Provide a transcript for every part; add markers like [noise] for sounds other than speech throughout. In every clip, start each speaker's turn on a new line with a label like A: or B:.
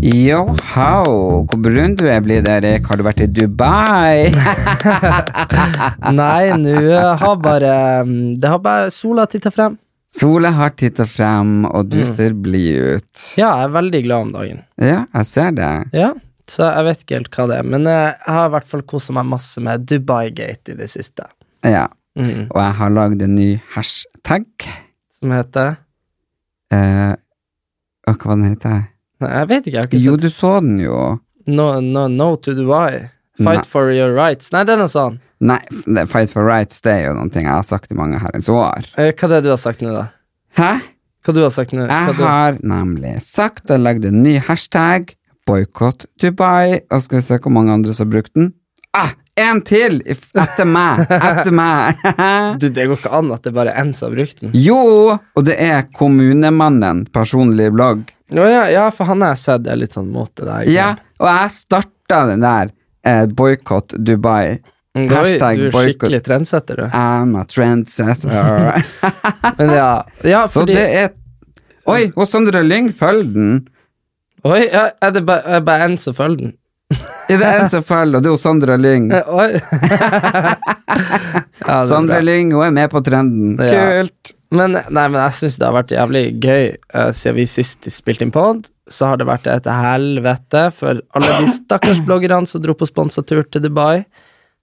A: Yo, how? Hvor brun du er blitt, Erik. Har du vært i [laughs] Dubai?
B: Nei, nå eh, har bare mm, Det har bare sola titta frem.
A: Sola har titta frem, og
B: Mm.
A: du ser blid ut.
B: Ja, jeg er veldig glad om dagen.
A: Ja, jeg ser det.
B: Ja, Så jeg vet ikke helt hva det er. Men eh, jeg har i hvert fall kosa meg masse med Dubai-gate i det siste.
A: Ja.
B: Mm.
A: Og jeg har lagd en ny hashtag.
B: Som heter
A: Eh, og hva var den heter?
B: Nei, jeg vet ikke. Jeg har ikke
A: Jo,
B: sett
A: du så den jo.
B: No, no, no to Dubai.
A: Nei.
B: Fight for your rights. Nei, det er noe sånn.
A: Nei, f- det- Fight for rights det er jo noe jeg har sagt i mange herrens år.
B: Eh, Hva er det du har sagt nå, da?
A: Hæ?
B: Hva du har sagt nå? Hva
A: Jeg
B: du...
A: har nemlig sagt og lagd en ny hashtag. Boikott Dubai. Og skal vi se hvor mange andre som har brukt den? Ah, en til! i f- Etter meg! Etter meg!
B: [laughs]
A: [laughs]
B: du, det går ikke an at det er bare én som har brukt den.
A: Jo, og det er Kommunemannen, personlig blogg.
B: Å ja, ja, for han har jeg sett. Det er litt sånn mot det der.
A: Ja, og jeg starta den der eh, boikott Dubai.
B: Du er-
A: hashtag
B: du er
A: boykott.
B: skikkelig
A: [laughs]
B: trendsetter, du.
A: I'm a
B: [laughs]
A: trendsetter. [laughs]
B: Men ja, ja
A: Så
B: fordi
A: det er Oi, og Sondre Lyng følger den!
B: Oi, ja, er det bare, er det bare en som følger den?
A: Er det en som følger, og det er jo Sondre Lyng.
B: Eh, Oi. [laughs] ja, det er
A: Sondre
B: bra.
A: Lyng, hun er med på trenden.
B: Ja.
A: Kult!
B: Men, nei, men jeg syns det har vært jævlig gøy eh, siden vi sist spilte inn pod. Så har det vært et helvete for alle de stakkars bloggerne som dro på sponsatur til Dubai.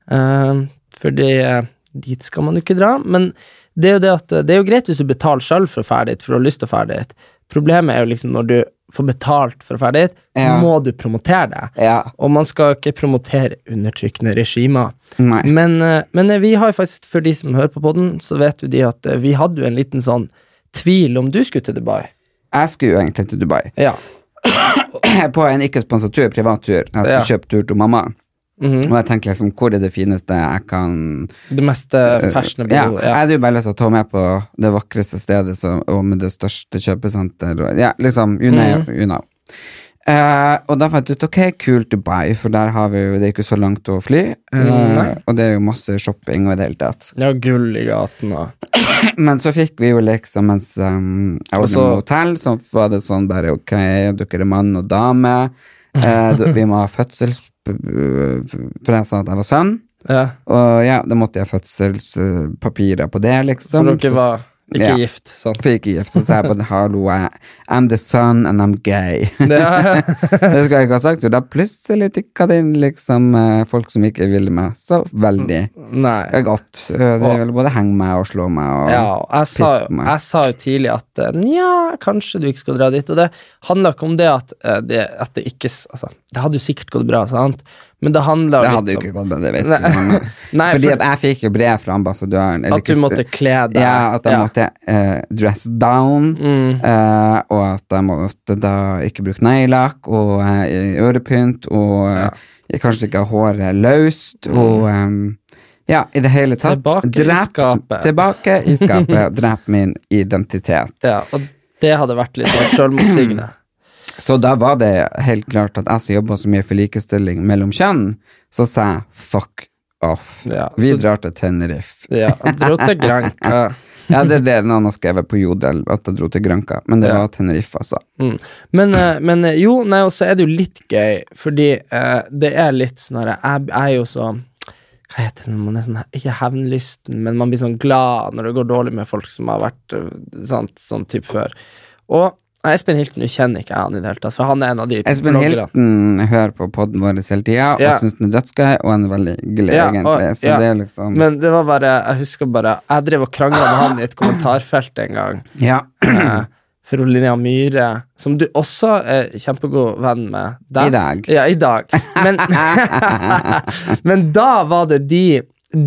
B: Eh, fordi eh, dit skal man jo ikke dra. Men det er jo, det at, eh, det er jo greit hvis du betaler sjøl for å dra dit, for du har lyst til å dra dit. Problemet er jo liksom når du får betalt for å dra dit, så
A: Ja.
B: må du promotere det.
A: Ja.
B: Og man skal ikke promotere undertrykkende regimer.
A: Nei.
B: Men, eh, men eh, vi har jo faktisk, for de som hører på podden, så vet jo de at eh, vi hadde jo en liten sånn tvil om du skulle til Dubai.
A: Jeg skulle jo egentlig til Dubai. [clears throat]
B: Ja.
A: På en ikke-sponsatur, privattur. Jeg skulle
B: Ja.
A: kjøpe tur til mamma.
B: Mhm.
A: Og jeg tenker liksom, hvor er det fineste jeg kan
B: Det meste fashionable.
A: Eh, Ja, jeg
B: Ja.
A: hadde jo bare lyst til å ta med på det vakreste stedet så, og med det største kjøpesenter. og- Ja, liksom,
B: Mm.
A: you know. You know. Eh, og da fant jeg ut ok, kult Dubai, for der har vi jo, det er ikke så langt å fly. eh,
B: Mm, Nei.
A: og det er jo masse shopping og i det hele tatt.
B: ja, gull i gaten og
A: Men så fikk vi jo liksom mens um, jeg var
B: Og
A: på
B: så-
A: hotell, så var det sånn bare ok, dere er mann og dame.
B: [laughs]
A: eh, d- vi må ha fødsels... eh, For jeg sa at jeg var sønn.
B: ja.
A: Og ja, da måtte jeg ha fødselspapirer på det, liksom.
B: For dere
A: Så-
B: var ikke
A: ja.
B: gift, [laughs] sant?
A: For ikke gift, så sa jeg bare hallo, jeg- I'm the son and I'm gay. [laughs]
B: Det,
A: det skulle jeg ikke ha sagt, og da plutselig tikka det inn liksom eh, folk som ikke ville meg så veldig. Det
B: nei.
A: er godt. Eh, Det vil både henge meg og slå meg og
B: Ja, og jeg sa,
A: pisk
B: jo,
A: meg.
B: jeg sa jo tidlig at eh, nja, kanskje du ikke skal dra dit. Og det handla ikke om det at, eh, det at det ikke s- Altså, det hadde jo sikkert gått bra, sant, men det handla
A: Det
B: litt
A: hadde jo
B: om-
A: ikke gått bra, det vet du.
B: liksom- [laughs] Nei.
A: men-
B: Nei,
A: Fordi at
B: for-
A: jeg fikk jo brev fra ambassadøren. eller
B: At du
A: ikke-
B: måtte kle deg.
A: Ja, at jeg måtte eh, dress down,
B: Mm.
A: eh, og at jeg måtte da ikke bruke neglelakk og eh, ørepynt, og eh, kanskje ikke ha håret løst, og eh, ja, i det hele tatt.
B: Mm. Tilbake i skapet.
A: Tilbake i
B: [laughs]
A: skapet. Drep min identitet.
B: Ja, og det hadde vært litt sånn sjølmotsigende.
A: Så da var det helt klart at jeg som jobba så mye for likestilling mellom kjønn, så sa jeg fuck off.
B: Ja,
A: Vi
B: så-
A: drar til Tenerife.
B: Ja, dro til Granca.
A: Ja, det er det noen har skrevet på Jodel, at jeg dro til Granca, men det
B: Ja.
A: var Tenerife, altså.
B: Mm. Men, eh, men eh, jo, nei, og så er det jo litt gøy, fordi eh, det er litt sånn herre jeg, jeg er jo så Hva heter det når man er sånn Ikke hevnlysten, men man blir sånn glad når det går dårlig med folk som har vært eh, sant, sånn type før. Og Nei, Espen Hilton du kjenner ikke jeg han i det hele tatt, for han er en av de
A: Espen
B: bloggerne.
A: Hilton hører på podden vår hele tida og
B: Ja.
A: syns den er dødsgøy, og han er veldig hyggelig,
B: Ja, og-
A: egentlig. Så
B: ja.
A: det er liksom
B: Men det var bare Jeg husker bare Jeg drev og krangla med han i et kommentarfelt en gang.
A: Ja.
B: Eh, [clears throat] for Linnea Myhre, som du også er kjempegod venn med.
A: I dag.
B: Ja, i dag.
A: [laughs]
B: Men, [laughs] men da var det de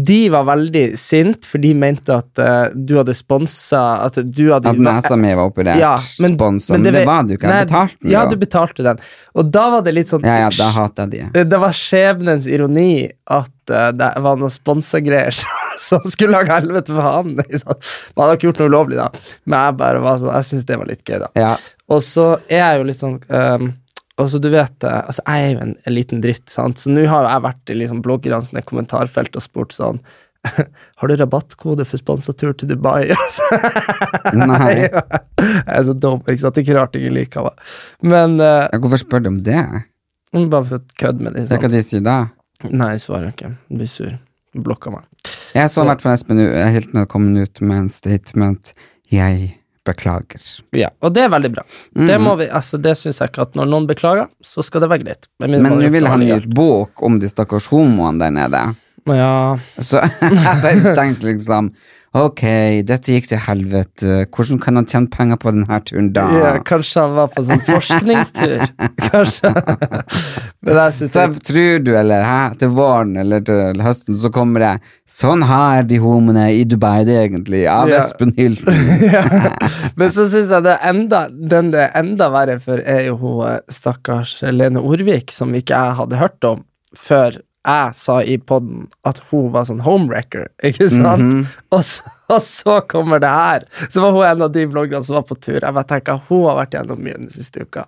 B: De var veldig sint, for de mente at eh, du hadde sponsa At du hadde
A: At nesa mi var operert,
B: Ja, men-
A: sponsa,
B: men
A: men, det
B: vet-
A: var det jo ikke.
B: Nei,
A: Jeg betalte den
B: Ja, du
A: jo.
B: betalte den. Og da var det litt sånn
A: Ja, ja, da hater jeg de.
B: det, det var skjebnens ironi at eh, det var noen sponsorgreier [laughs] som- som skulle lage helvete for han. [laughs] ikke sant? Man hadde ikke gjort noe ulovlig, da, men jeg bare var sånn, jeg syntes det var litt gøy, da.
A: Ja.
B: Og så er jeg jo litt sånn ehm, og så du vet, eh, altså Jeg er jo en, en liten dritt, sant? så nå har jo jeg vært i liksom bloggerne sine kommentarfelt og spurt sånn [laughs] Har du rabattkode for sponsatur til Dubai? [laughs] Og så- [laughs]
A: Nei.
B: jeg er så dum, ikke sant? Det er ikke rart ingen liker meg. Men eh,
A: Ja, Hvorfor spør du om det?
B: bare for å kødde med det. sånn.
A: Hva kan de si da?
B: Nei, jeg svarer ikke. Jeg Blir sur. Blokka meg.
A: Jeg så i
B: Så-
A: hvert fall Espen U- Hilton hadde kommet ut med en statement. Jeg beklager.
B: Ja, Og det er veldig bra. Det
A: Mhm.
B: må vi, altså det syns jeg ikke at når noen beklager, så skal det være greit. Med mindre
A: Men
B: man har
A: nå
B: gjort
A: vil
B: noe
A: han gi
B: veldig
A: ut bok om de stakkars homoene der nede.
B: galt. Ja,
A: Så [laughs] jeg tenkte liksom Ok, dette gikk til helvete. Hvordan kan han tjene penger på denne turen da?
B: ja, kanskje han var på sånn
A: [laughs]
B: forskningstur. Kanskje. Men jeg syns
A: Så jeg tror du, eller hæ, til våren eller til høsten så kommer det Sånn har de homoene i Dubai det egentlig, av
B: Ja.
A: Espen
B: [laughs]
A: Hilton.
B: ja. [laughs] Men så syns jeg det er enda, den det er enda verre for, er jo hun eh, stakkars Lene Orvik, som ikke jeg hadde hørt om før jeg sa i poden at hun var sånn homewrecker, ikke sant?
A: Mhm.
B: og, så, og så kommer det her! Så var hun en av de bloggerne som var på tur. Jeg bare tenker, Hun har vært gjennom mye den siste uka.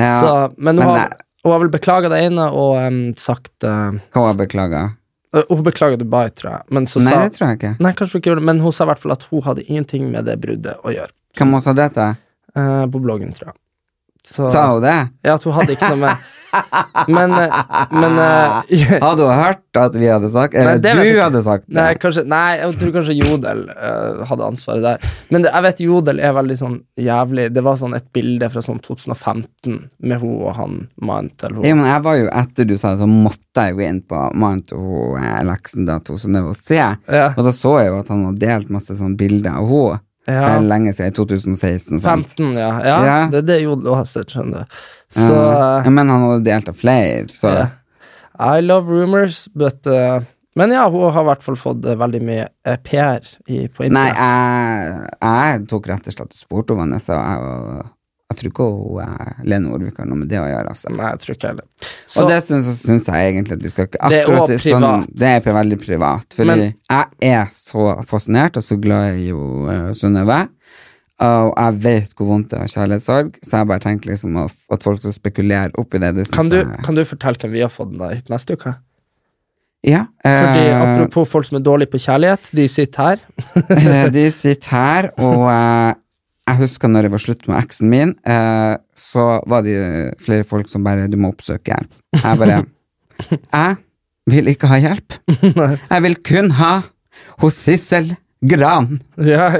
A: Ja,
B: Så, men
A: men
B: hun, har,
A: det-
B: hun har vel beklaga det ene og em, sagt eh,
A: Hva jeg beklager?
B: øh, Hun beklaga Dubai, tror jeg. Men så
A: Nei,
B: sa
A: det tror jeg ikke.
B: Nei, kanskje hun ikke gjorde det, men hun sa i hvert fall at hun hadde ingenting med det bruddet å gjøre.
A: Hvem også sa dette?
B: Eh, på bloggen, tror jeg. Så,
A: Sa hun det?
B: Ja, at hun hadde ikke noe
A: [laughs]
B: med Men, eh, men eh,
A: Hadde hun hørt at vi hadde sagt
B: [laughs]
A: Eller
B: Nei, det vet
A: Eh, du
B: jeg ikke.
A: hadde sagt det?
B: Nei, kanskje, nei, jeg tror kanskje Jodel eh, hadde ansvaret der. Men det, jeg vet Jodel er veldig sånn jævlig Det var sånn et bilde fra sånn 2015 med hun og han mannen til
A: Ja,
B: hun.
A: men jeg var jo etter du sa det, så måtte jeg gå inn på mannen til hun, eh, Laksen da, to, sånn, og se.
B: Ja.
A: Og da så jeg jo at han hadde delt masse sånn bilder av henne.
B: Ja.
A: Det er lenge siden, i 2016. sant?
B: 15, ja. ja,
A: Ja.
B: Det er det Jodel og Hassett skjønner. Så
A: Ja, men han hadde delt av flere, så
B: eh, I love rumors, but eh, Men ja, hun har i hvert fall fått eh, veldig mye eh, PR i, på
A: Nei,
B: internett.
A: jeg, jeg tok rett og slett og spurte om Vanessa, og jeg, jeg tror ikke hun eh, Lene Orvik har noe med det å gjøre. Altså.
B: Nei, jeg tror ikke heller.
A: og det syns, syns jeg egentlig at vi skal ikke
B: Det er
A: akkurat
B: også
A: i sånn-
B: privat.
A: det er pri- veldig privat. Fordi
B: Men-
A: jeg er så fascinert og så glad i jo, eh, Synnøve. Og jeg vet hvor vondt det er av kjærlighetssorg, så jeg bare tenker liksom at, at folk skal spekulere oppi det. det syns
B: kan, du,
A: jeg-
B: kan du fortelle hvem vi har fått da, hit neste uke?
A: Ja,
B: Fordi
A: eh,
B: Apropos folk som er dårlige på kjærlighet, de sitter her. [laughs]
A: Eh, De sitter her, og eh, jeg husker når jeg var slutt med eksen min, eh, så var det eh, flere folk som bare 'du må oppsøke hjelp'. Jeg bare Jeg vil ikke ha hjelp. Jeg vil kun ha hos Sissel Gran.
B: Ja,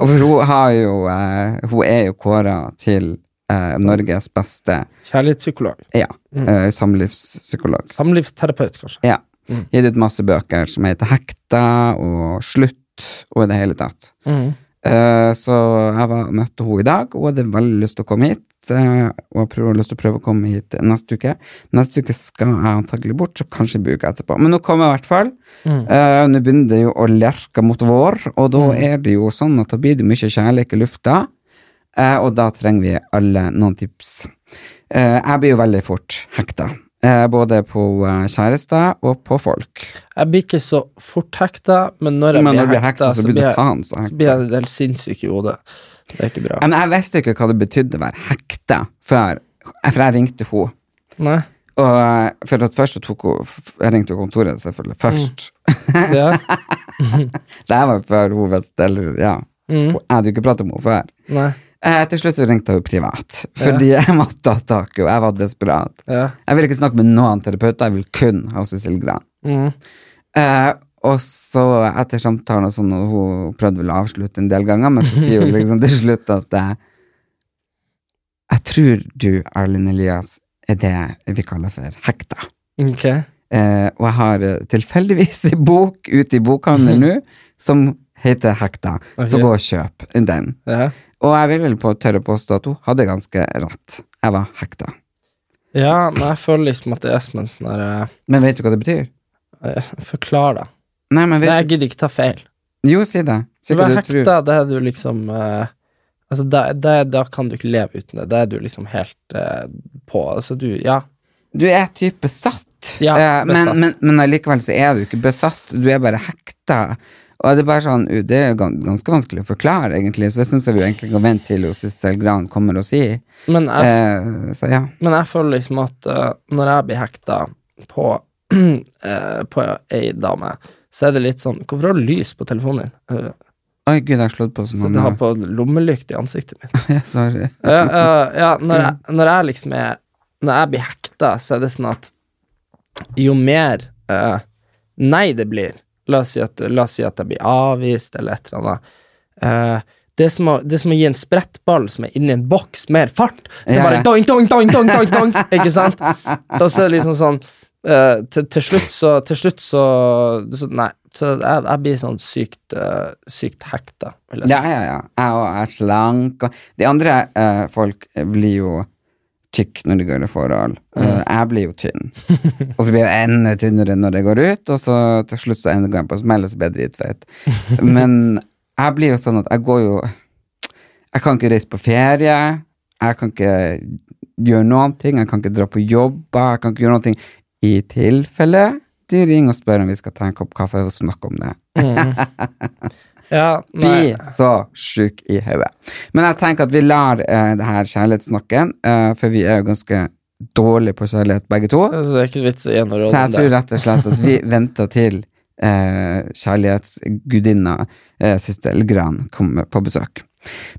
A: Og for hun, har jo, eh, hun er jo kåra til eh, Norges beste
B: Kjærlighetspsykolog.
A: ja, eh, samlivspsykolog.
B: Samlivsterapeut, kanskje.
A: Ja. Gitt ut masse bøker som heter Hekta og Slutt og i det hele tatt. Eh, så jeg var, møtte henne i dag, og hadde veldig lyst til å komme hit. eh, og jeg prøver, lyst til å prøve å komme hit neste uke. Neste uke skal jeg antagelig bort, så kanskje blir uka etterpå. Men nå kommer jeg i hvert fall. Eh, nå begynner det jo å lerke mot vår, og da er det jo sånn at da blir det mye kjærlighet i lufta. Eh, og da trenger vi alle noen tips. Eh, jeg blir jo veldig fort hekta. Eh, både på eh, kjærester og på folk.
B: Jeg blir ikke så fort hekta, men når jeg
A: Men når du
B: blir
A: blir
B: hekta,
A: hekta, så blir du
B: jeg-
A: faen så
B: så blir jeg helt sinnssyk i hodet. Det er ikke bra.
A: Men jeg visste jo ikke hva det betydde å være hekta før, for jeg ringte henne. [laughs]
B: Nei.
A: Og for at først så tok hun f- Jeg ringte jo kontoret, selvfølgelig. Først.
B: Ja.
A: Det her var før hun visste Eller, ja. Hun- Jeg hadde jo ikke pratet med henne før.
B: Mm. Nei.
A: Eh, til slutt så ringte jeg henne privat, fordi [laughs] jeg måtte ha tak i henne. Jeg var desperat.
B: Ja.
A: Jeg ville ikke snakke med noen terapeuter, jeg ville kun ha Cecil Gran.
B: Mm.
A: Eh, og så etter samtalen og sånn, og hun prøvde vel å avslutte en del ganger, men så sier hun liksom til slutt at eh, Jeg tror du, Erlend Elias, er det vi kaller for hekta.
B: Ok.
A: Eh, og jeg har eh, tilfeldigvis en bok ute i
B: [laughs]
A: bokhandelen nå som heter Hekta. Så
B: Ok.
A: gå og kjøp den.
B: Ja.
A: Og jeg vil vel på tørre påstå at hun hadde ganske rett. Jeg var hekta.
B: ja, men jeg føler liksom at det er som en sånn der
A: Men vet du hva det betyr?
B: eh, eh, Forklar, da.
A: Nei, men
B: Nei,
A: vet
B: jeg gidder ikke ta feil.
A: du Jo, si det. Si
B: Du
A: hva
B: er
A: du tror.
B: hekta, da er du liksom eh, Altså, da, da, da kan du ikke leve uten det. Da er du liksom helt eh, på. Altså, du Ja.
A: Du er typ besatt,
B: Ja,
A: Eh,
B: besatt.
A: Men, men, men allikevel så er du ikke besatt. Du er bare hekta. Og det er bare sånn, uh, det er gan- ganske vanskelig å forklare, egentlig, så det syns jeg vi egentlig kan vente til hun Sissel Gran kommer og sier.
B: Men jeg,
A: Eh, så ja.
B: men jeg føler liksom at eh, når jeg blir hekta på [clears throat] eh, På ei dame, så er det litt sånn Hvorfor har du lys på telefonen din? Eh,
A: Oi, gud, jeg har slått på
B: Så
A: sånn.
B: du har på lommelykt i ansiktet mitt.
A: Ja, Sorry.
B: ja, ja, ja når,
A: Mm.
B: jeg, når jeg liksom er Når jeg blir hekta, så er det sånn at jo mer eh, nei det blir la oss, si at, la oss si at jeg blir avvist, eller et eller annet. eh, det, er som å, det er som å gi en sprettball som er inni en boks, mer fart. Så det
A: Ja,
B: er bare
A: ja.
B: doink, doink, doink, doink, doink,
A: [laughs]
B: doink, ikke sant? Og så er det liksom sånn eh, til, til slutt så Til slutt så, så Nei. Så jeg, jeg blir sånn sykt, eh, sykt hekta, vil jeg si.
A: Ja, ja, ja. Jeg og jeg er slank. Og de andre eh, folk blir jo tykk når de går i forhold. Eh, jeg blir jo tynn. og så blir jeg enda tynnere når jeg går ut, og så til slutt så ender jeg på en smell, og så blir jeg dritfeit. Men jeg blir jo sånn at jeg går jo Jeg kan ikke reise på ferie. Jeg kan ikke gjøre noen ting. Jeg kan ikke dra på jobber. Jeg kan ikke gjøre noen ting. I tilfelle de ringer og spør om vi skal ta en kopp kaffe og snakke om det.
B: Ja, nei.
A: Bli så sjuk i hodet. Men jeg tenker at vi lar eh, det her kjærlighetssnakken, eh, for vi er jo ganske dårlige på kjærlighet begge to.
B: Altså, det er ikke vits å gi
A: Så
B: noe råd
A: jeg
B: om
A: tror
B: det.
A: rett og slett at vi
B: [laughs]
A: venter til eh, kjærlighetsgudinna eh, Sistel Gran kommer på besøk.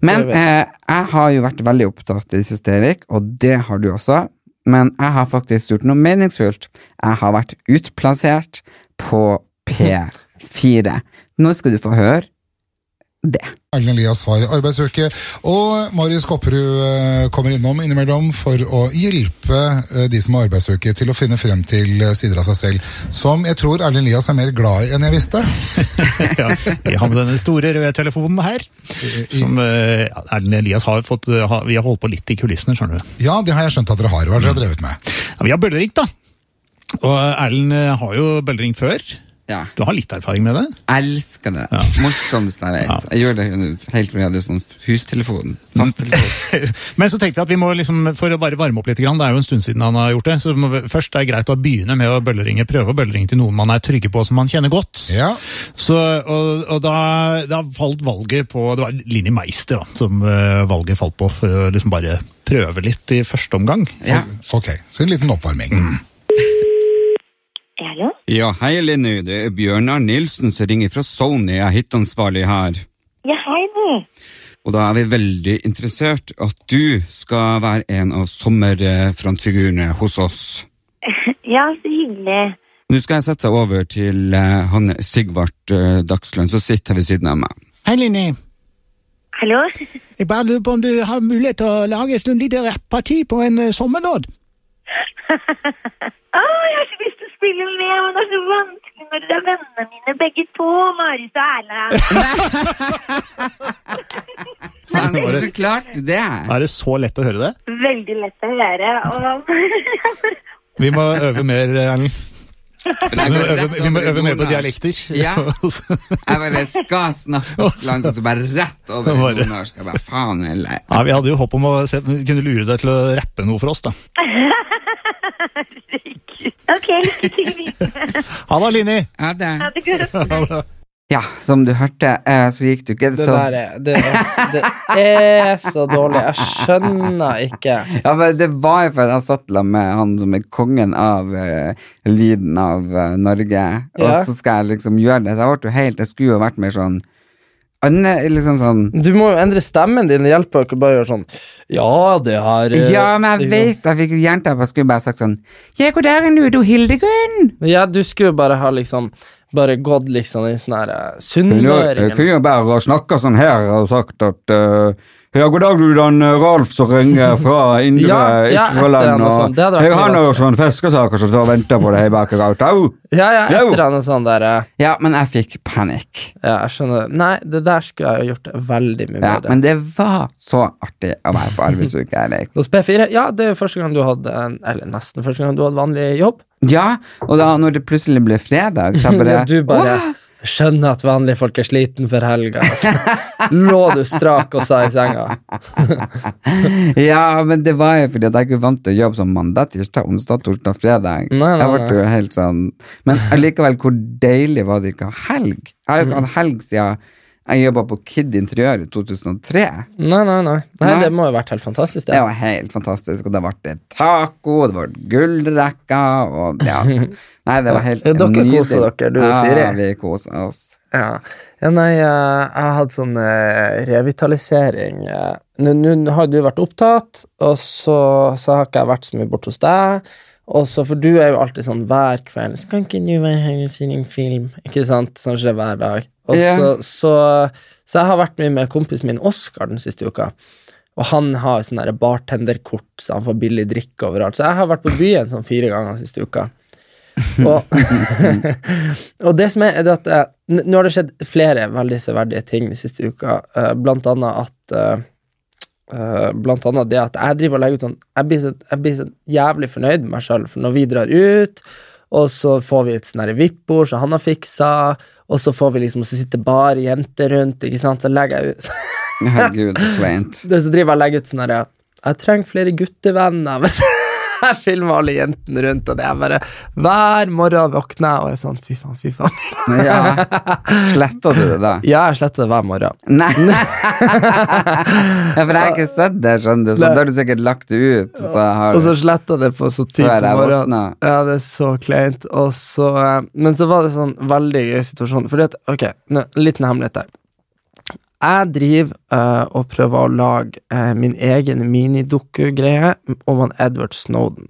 A: Men
B: Det vet
A: eh, jeg har jo vært veldig opptatt i det siste, Erik, og det har du også. Men jeg har faktisk gjort noe meningsfullt. Jeg har vært utplassert på P4. Nå skal du få høre det.
C: Erlend Elias har arbeidsuke, og Marius Kopperud eh, kommer innom innimellom for å hjelpe eh, de som har arbeidsuke til å finne frem til eh, sider av seg selv, som jeg tror Erlend Elias er mer glad i enn jeg visste.
D: ja, vi har med denne store røde telefonen her. Som eh, Erlend Elias har fått eh, ha, Vi har holdt på litt i kulissene, skjønner du.
C: Ja, det har jeg skjønt at dere har, hva har dere drevet med?
D: Ja, vi har bølleringd, da. Og Erlend eh, har jo bølleringt før.
A: Ja.
D: Du har litt erfaring med det? [laughs]
A: elsker det. Morsomst jeg vet.
D: Ja.
A: Jeg gjorde det helt fordi jeg hadde sånn hustelefon. Fasttelefon.
D: Men så tenkte vi at vi må liksom, for å bare varme opp litt, grann, det er jo en stund siden han har gjort det, så må vi, først er det greit å begynne med å bølleringe, prøve å bølleringe til noen man er trygge på, som man kjenner godt.
C: Ja,
D: Så, og, og da, da falt valget på Det var Linni Meister da, som eh, valget falt på, for å liksom bare prøve litt i første omgang.
A: Ja.
C: ok, så en liten oppvarming.
E: Hallo?
A: ja, hei Linny. Det er Bjørnar Nilsen som ringer fra Sony. Jeg er hitansvarlig her.
E: Ja, hei du.
A: Og da er vi veldig interessert at du skal være en av sommerfrontfigurene hos oss.
E: Ja, så hyggelig.
A: Nå skal jeg sette deg over til eh, han Sigvart eh, Dagslund, som sitter her ved siden av meg.
D: Hei, Linni.
E: Hallo?
D: Jeg bare lurer på om du har mulighet til å lage et lite rapparti på en eh, sommerlåt?
E: Å, jeg har så lyst til å spille med, men det er så vanskelig når det er vennene mine begge to, Marius og Erlend.
A: Faen, så klart det!
D: Er det så lett å høre det?
E: Veldig lett å høre. Og... [laughs]
D: Vi må øve mer, eh, Erlend. Vi må øve, vi må øve mer på dialekter.
A: Ja. Jeg bare skal snakke langsomt, så bare rett over i
D: Bare-
A: nordnorsk. Jeg bare faen heller.
D: [laughs] Ja, vi hadde jo håp om å se, kunne lure deg til å rappe noe for oss, da.
E: ok, lykke til videre.
D: Ha det, Linni!
A: Ja, det.
E: Ha det godt.
A: Ja, som du hørte, eh, så gikk du ikke
B: Det
A: så
B: der er det, er, s- det er så dårlig. Jeg skjønner ikke.
A: ja, men Det var jo fordi jeg satt sammen med han som er kongen av eh, lyden av eh, Norge, og
B: Ja.
A: så skal jeg liksom gjøre det. Så jeg ble jo helt Jeg skulle jo vært mer sånn Anne, liksom sånn
B: Du må jo endre stemmen din. Det hjelper jo ikke bare å gjøre sånn Ja, det her eh,
A: Ja, men jeg
B: liksom.
A: vet Jeg fikk jo jernteppe. Jeg skulle bare sagt sånn Ja, god dag, nå er du Hildegunn?
B: Ja, du skulle jo bare ha liksom bare gått liksom i sånn her eh,
A: Kunne jo- Jeg
B: sunnmøringen.
A: kunne jo bare ha snakka sånn her og sagt at eh, ja, god dag, du, den eh, Ralf som ringer [laughs] fra Indre
B: Ja, ja, et eller
A: Ytreland.
B: annet sånt.
A: og
B: Det hadde vært
A: jeg har
B: mye
A: noen sånne fiskesaker som står og venter på deg bak i gata. Au!
B: Ja, ja, et
A: Jo.
B: eller annet sånn der eh,
A: Ja, men jeg fikk panikk.
B: Ja, jeg skjønner. Nei, det der skulle jeg jo gjort veldig mye
A: Ja,
B: bedre.
A: men det var så artig å være på arbeidsuke. Erik.
B: Hos P4, ja, det er jo første gang du hadde en- Eller nesten første gang du hadde vanlig jobb.
A: Ja, og da når det plutselig ble fredag, [laughs] så jeg bare,
B: Og du bare skjønner at vanlige folk er sliten for helga. Altså. Lå du strak og sa i senga.
A: Ja, men det var jo fordi at jeg ikke vant til å jobbe som mandag, tirsdag, onsdag, torsdag, fredag.
B: Nei, nei,
A: jeg ble jo helt sånn Men allikevel, hvor deilig var det ikke å ha helg? Jeg har jo
B: Mm.
A: ikke hatt helg siden jeg jobba på Kid Interiør i 2003.
B: Nei, nei, nei. Nei,
A: Nei.
B: Det må jo ha vært helt fantastisk.
A: Det
B: Det.
A: var helt fantastisk, og da ble det taco, og det ble gullrekker, og
B: [laughs]
A: ja Nei, det var helt
B: Ja, dere koser dere, du og Siri.
A: Ja, vi koser oss.
B: Ja. ja, nei, eh, jeg har hatt sånn eh, revitalisering. eh. Nå nå har du vært opptatt, og så, så har ikke jeg vært så mye borte hos deg. Og så, For du er jo alltid sånn hver kveld 'Skal ikke du være her og se en film?' Ikke sant? Sånn skjer hver dag. Og
A: Ja.
B: så, så, så jeg har vært mye med kompisen min Oskar den siste uka. Og han har sånn der bartenderkort, så han får billig drikke overalt. Så jeg har vært på byen sånn fire ganger siste uka. Og, og det som er, er det at eh, n- Nå har det skjedd flere veldig severdige ting de siste uka. eh, blant annet at eh, eh, Blant annet det at jeg driver og legger ut sånn Jeg blir så, jeg blir så jævlig fornøyd med meg sjøl, for når vi drar ut, og så får vi et sånn her VIP-bord som han har fiksa, og så får vi liksom så sitter bare jenter rundt, ikke sant, så legger jeg ut [laughs]
A: Herregud, så kleint.
B: det så driver jeg og legger ut sånn her Jeg trenger flere guttevenner [laughs] hvis jeg filmer alle jentene rundt, og det er bare Hver morgen våkner jeg og er sånn Fy faen, fy faen.
A: Men
B: [laughs]
A: ja, sletta du det da?
B: Ja, jeg sletter det hver morgen.
A: Nei. ja, for jeg har ikke sett det, skjønner du. Så da
B: Nei.
A: har du sikkert lagt det ut. Så jeg har
B: Og så sletter jeg det på så tidlig
A: Før
B: på
A: jeg
B: morgenen.
A: våkner.
B: Ja, det er så kleint. Og så eh, Men så var det sånn veldig gøy situasjon. Fordi at, ok, nå, liten hemmelighet der. Jeg driver eh, og prøver å lage eh, min egen minidokku-greie om han Edward Snowden.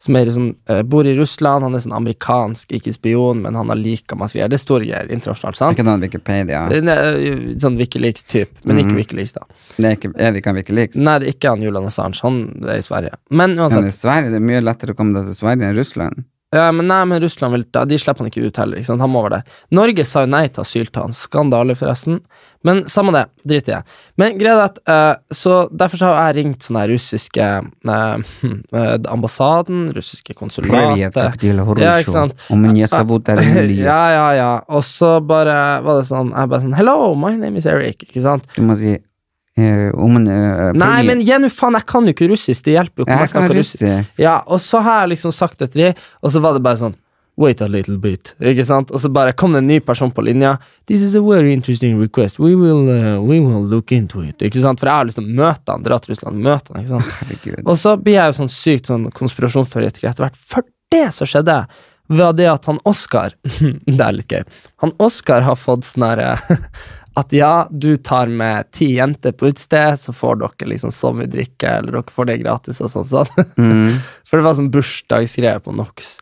B: Som er sånn, eh, bor i Russland, han er sånn amerikansk, ikke spion, men han har lika masse greier. Det er store greier internasjonalt,
A: Er
B: sant?
A: ikke noen Wikipedia?
B: Det er en, eh, Sånn Wikileaks-type, men ikke
A: Mhm.
B: Wikileaks, da.
A: Det er, ikke, er det ikke en Wikileaks?
B: Nei, det er ikke han Julian Assange, han er i Sverige. Men
A: Men
B: uansett.
A: i Sverige, det er mye lettere å komme deg til Sverige enn Russland.
B: Ja, men nei, men Russland vil ta, de slipper han ikke ut heller. Ikke sant? Han må være der. Norge sa jo nei til asyl til han. Skandale, forresten. Men samme det, drit i det. Men greia er at eh, Så derfor så har jeg ringt sånne her russiske eh, [laughs] eh, ambassaden, russiske konsulatet Ja, ikke sant. [laughs] Ja, ja, ja. Og så bare var det sånn Jeg bare sånn Hello, my name is Eric. Ikke sant?
A: Du må si eh, om en, eh,
B: Nei,
A: privat-
B: men ja, nå faen, jeg kan jo ikke russisk. Det hjelper jo ikke om
A: Jeg
B: jeg
A: kan
B: snakker russisk.
A: russisk.
B: Ja, og så har jeg liksom sagt det til de, og så var det bare sånn Wait a little bit, ikke sant? Og så bare kom det en ny person på linja. This is a very interesting request. We will, uh, we will look into it. Ikke sant? For jeg har lyst til å møte han, dra til Russland, møte han, ikke sant?
A: [laughs] Herregud.
B: Og så blir jeg jo sånn sykt sånn konspirasjonsteoretiker etter hvert. For det som skjedde, var det at han Oskar [laughs] Det er litt gøy. Han Oskar har fått sånn herre [laughs] at ja, du tar med ti jenter på utested, så får dere liksom så mye drikke, eller dere får det gratis, og sånn. sånn. [laughs] For det var sånn bursdagsgreie på NOX.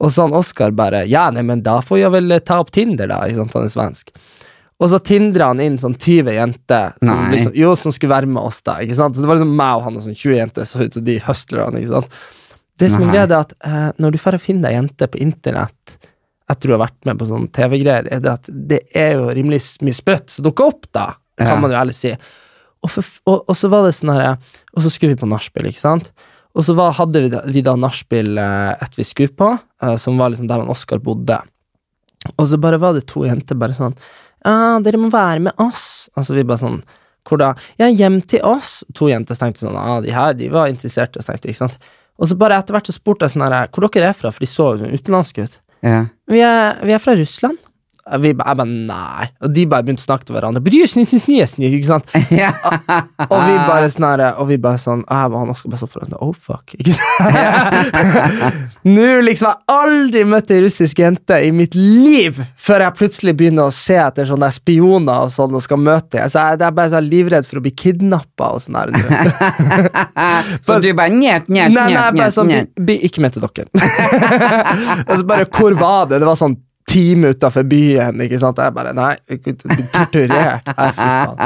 B: Og så han Oskar bare Ja, nei, men da får jeg vel eh, ta opp Tinder, da. Ikke sant? Han er svensk. Og så tindra han inn sånn 20 jenter som,
A: Nei.
B: liksom, jo, som skulle være med oss da. ikke sant? Så det var liksom meg og han og sånn 20 jenter, så ut som de hustlerne. ikke sant? Det som er
A: Nei.
B: greia, det er at eh, når du får finne deg jente på internett etter du har vært med på sånne TV-greier, er det at det er jo rimelig s- mye sprøtt som dukker opp, da, kan
A: Ja.
B: man jo ærlig si. Og, for, f- og, og så var det sånn herre Og så skulle vi på nachspiel, ikke sant? Og så var, hadde vi da, vi da nachspiel eh, et vi skulle på, eh, som var liksom der han Oskar bodde. Og så bare var det to jenter bare sånn Ja, dere må være med oss. Altså vi bare sånn Hvor da? Ja, hjem til oss. To jenter så tenkte jeg sånn Ja, ah, de her, de var interessert, og så tenkte jeg, ikke sant. Og så bare etter hvert så spurte jeg sånn her Hvor dere er fra? For de så jo sånn utenlandske ut.
A: Ja.
B: Vi er, vi er fra Russland. Vi ba, jeg bare nei. Og de bare begynte å snakke til hverandre. Bryr seg ikke, ikke, ikke, ikke sant?
A: ja.
B: Og vi bare sånn her, og vi bare sånn «Ah, Jeg og han Oskar bare så på hverandre. Oh, fuck. Ikke sant? [laughs] Nå liksom Jeg har aldri møtt ei russisk jente i mitt liv før jeg plutselig begynner å se etter sånne der spioner og sånn og skal møte dem. Så jeg, jeg er bare sånn livredd for å bli kidnappa og sånn her. nå.
A: Så du bare njet, njet,
B: Nei, nei,
A: njet,
B: bare
A: njet,
B: sånn,
A: njet.
B: [laughs] bi, bi, ikke mente dere. altså bare, hvor var det? Det var sånn time utafor byen. ikke sant? Jeg bare Nei, jeg blir torturert. Nei, fy faen.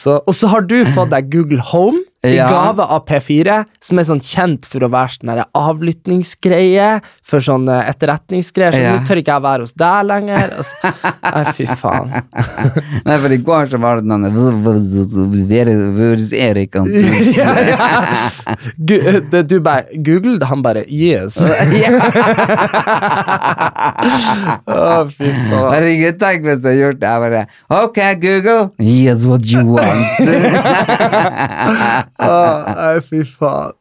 B: Så, og så har du fått deg Google Home i
A: Ja.
B: gave av P4, som er sånn kjent for å være sånn der avlyttingsgreie, for sånn eh, etterretningsgreier. Så
A: Ja.
B: nå tør ikke jeg være hos deg lenger. Og så, nei, fy faen. [laughs]
A: Nei, for i går så var det noen Hvor er Erik Antonsen?
B: Ja, ja. Gu- eh, det- Du bare Google, det, han bare Yes. Å, fy faen.
A: Herregud, tenk hvis jeg hadde gjort det. Jeg bare Ok, Google. Yes, what you want.
B: Å, nei, fy faen.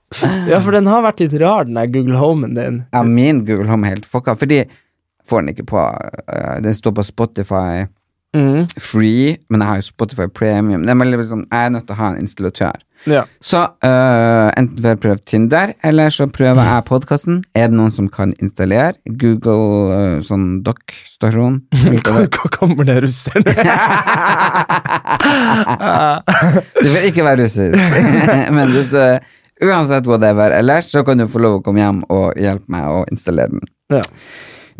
B: Ja, for den har vært litt rar, den der Google Homen din.
A: [laughs] ja, min Google Home er helt fucka, fordi får den ikke på eh, Den står på Spotify
B: Mm.
A: Free, men jeg har jo Spotify Premium. Det er veldig liksom, jeg er nødt til å ha en installatør.
B: Ja.
A: Så øh, enten får jeg prøve Tinder, eller så prøver jeg podkasten. Er det noen som kan installere Google øh, sånn dock-stasjon? [laughs]
B: Hva, hva kommer det russerne?
A: Du får ikke være russer. [laughs] Men hvis du er uansett whatever ellers, så kan du få lov å komme hjem og hjelpe meg å installere den.
B: ja.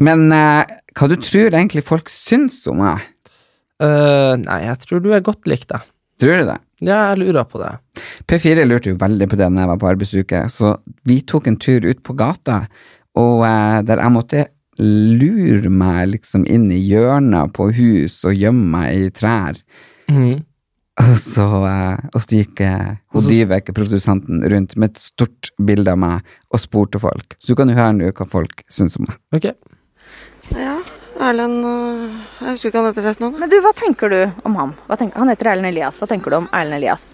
A: Men øh, hva du tror egentlig folk syns om meg?
B: Eh, nei, jeg tror du er godt likt, da.
A: Tror du det?
B: Ja, jeg lurer på det.
A: P4 lurte jo veldig på det når jeg var på arbeidsuke, så vi tok en tur ut på gata, og eh, der jeg måtte lure meg liksom inn i hjørnet på hus og gjemme meg i trær.
B: Mm.
A: Og [laughs] så, eh, og så gikk eh, hun Dyveke, produsenten, rundt med et stort bilde av meg og spurte folk. Så du kan jo høre nå hva folk syns om meg.
B: Ok.
F: Ja, Erlend øh, Jeg husker ikke hva han heter resten av
G: Men du, hva tenker du om ham? Hva tenker, han heter Erlend Elias. Hva tenker du om Erlend Elias?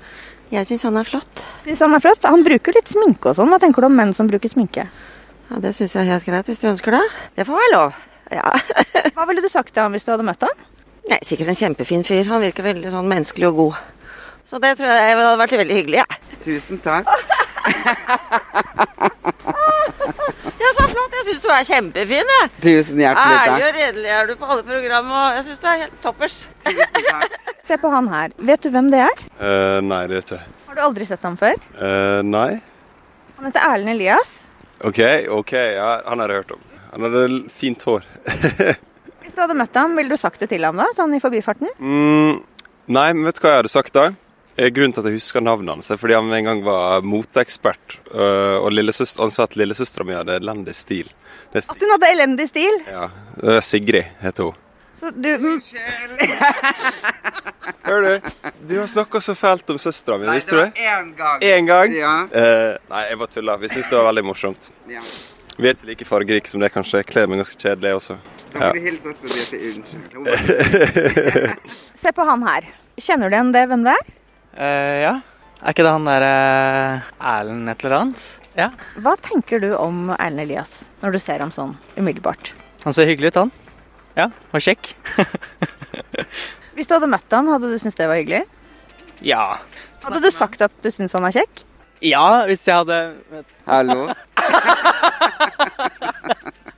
G: Jeg syns han er flott. Synes han er flott? Han bruker litt sminke og sånn. Hva tenker du om menn som bruker sminke?
F: Ja, Det syns jeg er helt greit, hvis du ønsker det.
G: Det får være lov. Ja. hva ville du sagt til ham hvis du hadde møtt ham?
F: Nei, Sikkert en kjempefin fyr. Han virker veldig sånn menneskelig og god. Så det tror jeg hadde vært veldig hyggelig, jeg. Ja.
A: Tusen takk.
F: ja, så flott! Jeg syns du er kjempefin, jeg.
A: Tusen
G: Ah,
F: Ærlig og redelig er du på alle program, og jeg syns du er helt toppers.
G: [laughs] Se på han her. Vet du hvem det er?
H: Eh, nei, det vet jeg.
G: Har du aldri sett ham før?
H: Eh, nei?
G: Han heter Erlend Elias.
H: Ok, ok, ja, han har jeg hørt om. Han hadde l- fint hår.
G: Hvis du hadde møtt ham, ville du sagt det til ham da? Sånn i forbifarten?
H: Mm, nei, men vet du hva jeg hadde sagt da? Eh, Grunnen til at jeg husker navnet hans, er fordi han en gang var moteekspert. eh, og lillesøs- han sa at lillesøstera mi hadde elendig stil. Det er
G: At hun hadde elendig stil?
H: ja. Eh, Sigrid heter hun.
G: Så du
H: [laughs] Hører du? Du har snakka så fælt om søstera mi, visste du det?
A: én gang.
H: Én gang? Eh, nei, jeg bare tulla. Vi syns det var veldig morsomt.
A: Ja.
H: Vi er ikke like fargerike som det, kanskje. Jeg kler meg ganske kjedelig også. Ja.
A: hilse oss og si unnskyld.
G: Se på han her. Kjenner du igjen det, hvem det er?
I: ja. Er ikke det han derre eh, Erlend et eller annet? Ja.
G: Hva tenker du om Erlend Elias når du ser ham sånn umiddelbart?
I: Han ser hyggelig ut, han. Ja, og kjekk. [laughs]
G: Hvis du hadde møtt ham, hadde du syntes det var hyggelig?
I: ja.
G: Hadde du sagt at du syns han er kjekk?
I: Ja, hvis jeg hadde
A: [laughs] Hallo?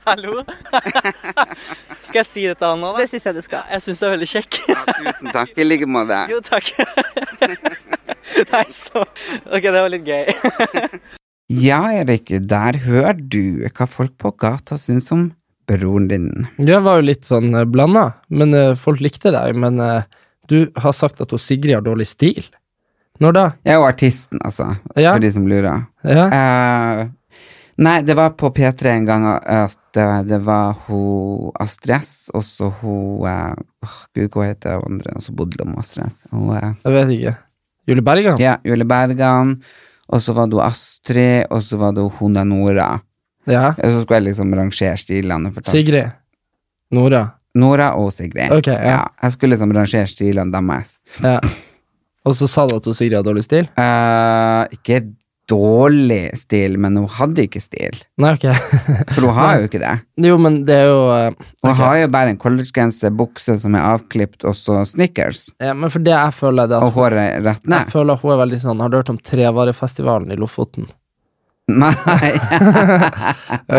I: Hallo? skal jeg si det til han nå, da?
G: Det syns jeg du skal.
I: Jeg syns det er veldig kjekk.
A: Tusen takk. I like måte.
I: jo, takk. Nei, så Ok, det var litt gøy.
A: Ja, Erik, der hører du hva folk på gata syns om broren din.
B: Jeg var jo litt sånn eh, blanda, men eh, folk likte deg. Men eh, du har sagt at hun Sigrid har dårlig stil. Når da?
A: Jeg er jo artisten, altså,
B: Ja.
A: for de som lurer.
B: Ja.
A: Eh, nei, det var på P3 en gang at eh, det var hun Astrid S, og så hun eh, åh, Gud, hva heter hun andre som bodde med Astrid S? Hun, eh,
B: Jeg vet ikke. Julie Bergan?
A: ja, Julie Bergan, og så var det hun Astrid, og så var det hun Honda Nora.
B: Ja.
A: Og så skulle jeg liksom rangere stilene. fortalte-
B: Sigrid? Nora?
A: Nora og Sigrid.
B: Ok, ja.
A: jeg skulle liksom rangere stilene deres.
B: Ja. Og så sa du at hun Sigrid har dårlig stil?
A: Eh, ikke dårlig stil, men hun hadde ikke stil.
B: Nei, ok. [laughs]
A: For hun har jo ikke det.
B: Jo, men det er jo eh,
A: Hun
B: ok.
A: har jo bare en collegegenser, bukse som er avklipt, og så snickers.
B: ja, Eh, Men for det jeg føler, det er
A: Og
B: at
A: håret rett
B: jeg
A: ned.
B: føler hun er veldig sånn Har du hørt om Trevarefestivalen i Lofoten?
A: Nei. [laughs]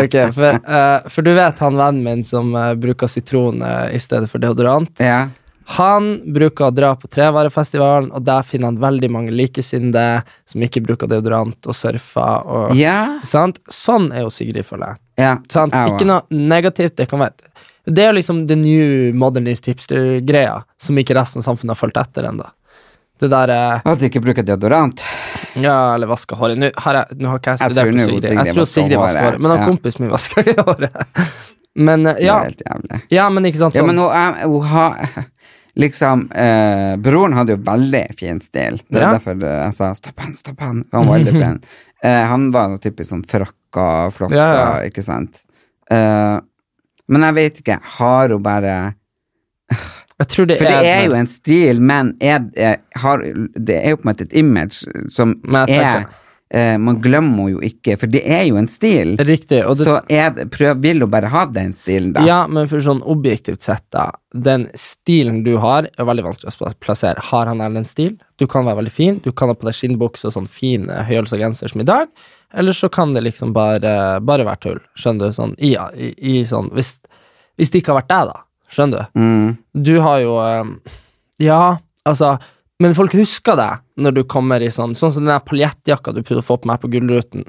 B: Ok, for, eh, for du vet han vennen min som eh, bruker sitron eh, i stedet for deodorant?
A: ja.
B: Han bruker å dra på Trevarefestivalen, og der finner han veldig mange likesinnede som ikke bruker deodorant og surfer. Og,
A: Ja.
B: sant? Sånn er jo Sigrid, føler jeg.
A: ja.
B: Sant?
A: Jeg
B: Ikke
A: også.
B: noe negativt. Det kan være Det er liksom the new modernist hipster-greia, som ikke resten av samfunnet har fulgt etter ennå. Det der eh,
A: At de ikke bruker deodorant.
B: Ja, eller vaske håret. Nå har, jeg, nå har ikke jeg
A: Jeg
B: studert
A: tror
B: på
A: nå
B: Sigrid.
A: Sigrid
B: Jeg tror
A: vasker
B: Sigrid vasker
A: håret,
B: håret, men han
A: ja.
B: kompisen min vasker [laughs] ikke håret. Men eh, ja.
A: Det er helt jævlig.
B: ja, men ikke sant
A: Ja,
B: sånn-
A: men hun, er- hun har [laughs] Liksom, eh, Broren hadde jo veldig fin stil. Det er
B: Ja.
A: derfor eh, jeg sa 'stopp han, stopp han'. Han var veldig
B: [laughs]
A: pen. Eh, han var noe typisk sånn frakka, flotta,
B: Ja, ja.
A: ikke sant. Eh, men jeg vet ikke. Har hun bare
B: Jeg tror det
A: For det
B: er
A: er jo en stil, men er, er, har, det er jo på en måte et image som
B: Men jeg tenker-
A: er eh, Man glemmer jo ikke, for det er jo en stil.
B: Riktig. og det-
A: Så er, det- prøv, vil hun bare ha den stilen, da?
B: Ja, men for sånn objektivt sett, da. Den stilen du har, er veldig vanskelig å pla- plassere. Har han eller en stil? Du kan være veldig fin. Du kan ha på deg skinnbukse og sånn fin eh, høyhalsa genser som i dag. Eller så kan det liksom bare, bare være tull. Skjønner du? Sånn, i, i, i sånn hvis, hvis det ikke har vært deg, da. Skjønner du?
A: Mm.
B: Du har jo eh, Ja, altså Men folk husker deg når du kommer i sånn Sånn som den der paljettjakka du prøvde å få på meg på Gullruten.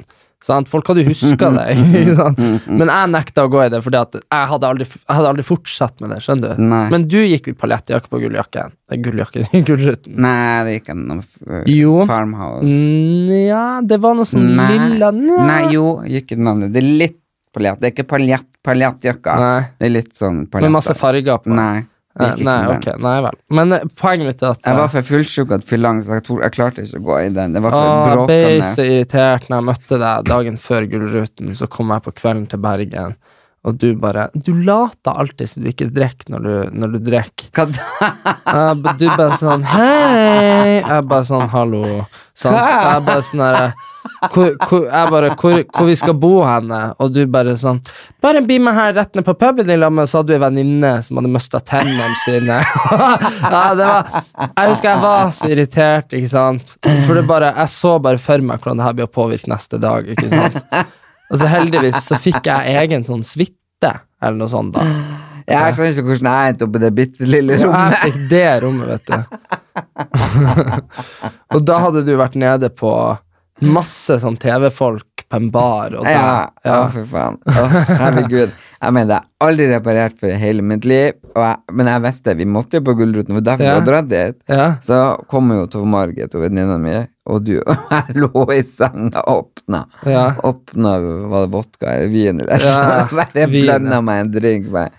B: Sant? Folk hadde jo huska
A: [laughs]
B: deg. ikke sant?
A: mm,
B: Men jeg nekta å gå i det, Fordi at jeg hadde aldri, jeg hadde aldri fortsatt med det. skjønner du?
A: Nei.
B: Men du gikk i paljettjakke på gulljakken. Eh, Gulljakken, Gullruten. altså.
A: Nei, det gikk ikke noe f- eh,
B: Jo. Mm.
A: farmhouse. Mm,
B: Nja, det var noe sånn
A: Nei.
B: lilla
A: Nei. jo, gikk ikke navnet. Det er litt paljett. Det er ikke paljett, paljettjakka. Det er litt sånn paljett.
B: Med masse farger på.
A: Nei. det
B: Eh,
A: gikk ikke
B: Nei,
A: med
B: ok,
A: den.
B: nei vel. Men eh, poenget mitt er at
A: Jeg var for fullsjuk og fyllang, så jeg, tror, jeg klarte ikke å gå i den. Det var for
B: Åh, jeg ble så
A: bråkende.
B: irritert når jeg møtte deg dagen før Gullruten. Så kom jeg på kvelden til Bergen, og du bare Du later alltid som du ikke drikker når du, når du drikker. Jeg ba- Du bare sånn Hei! Jeg bare sånn Hallo. Sant? Jeg bare sånn der, hvor, hvor, jeg bare, hvor, hvor vi skal bo henne? Og du bare sånn Bare bli med her rett ned på puben i lag med Så hadde du ei venninne som hadde mista tennene sine. [laughs] ja, det var, jeg husker jeg var så irritert, ikke sant. For det bare, jeg så bare for meg hvordan det her blir å påvirke neste dag. ikke sant? Og så heldigvis så fikk jeg egen sånn suite, eller noe sånt. da.
A: Jeg skjønner ikke hvordan jeg endte opp i det bitte lille
B: Ja,
A: rommet.
B: Jeg fikk det rommet, vet du. [laughs] og da hadde du vært nede på masse sånn TV-folk på en bar. Og da,
A: Ja, ja.
B: ja.
A: for faen. Å, herregud. Jeg mener, jeg har aldri reparert for hele mitt liv, og jeg, men jeg visste vi måtte jo på Gullruten, for derfor
B: Ja.
A: vi hadde dratt dit.
B: Ja.
A: Så kom jo Tove Margit og venninna mi, og du og jeg lå i senga og åpna.
B: Ja.
A: Åpna var det vodka eller vin eller
B: Ja,
A: noe. [laughs] Bare
B: vin, ja.
A: blanda meg en drink. Bare,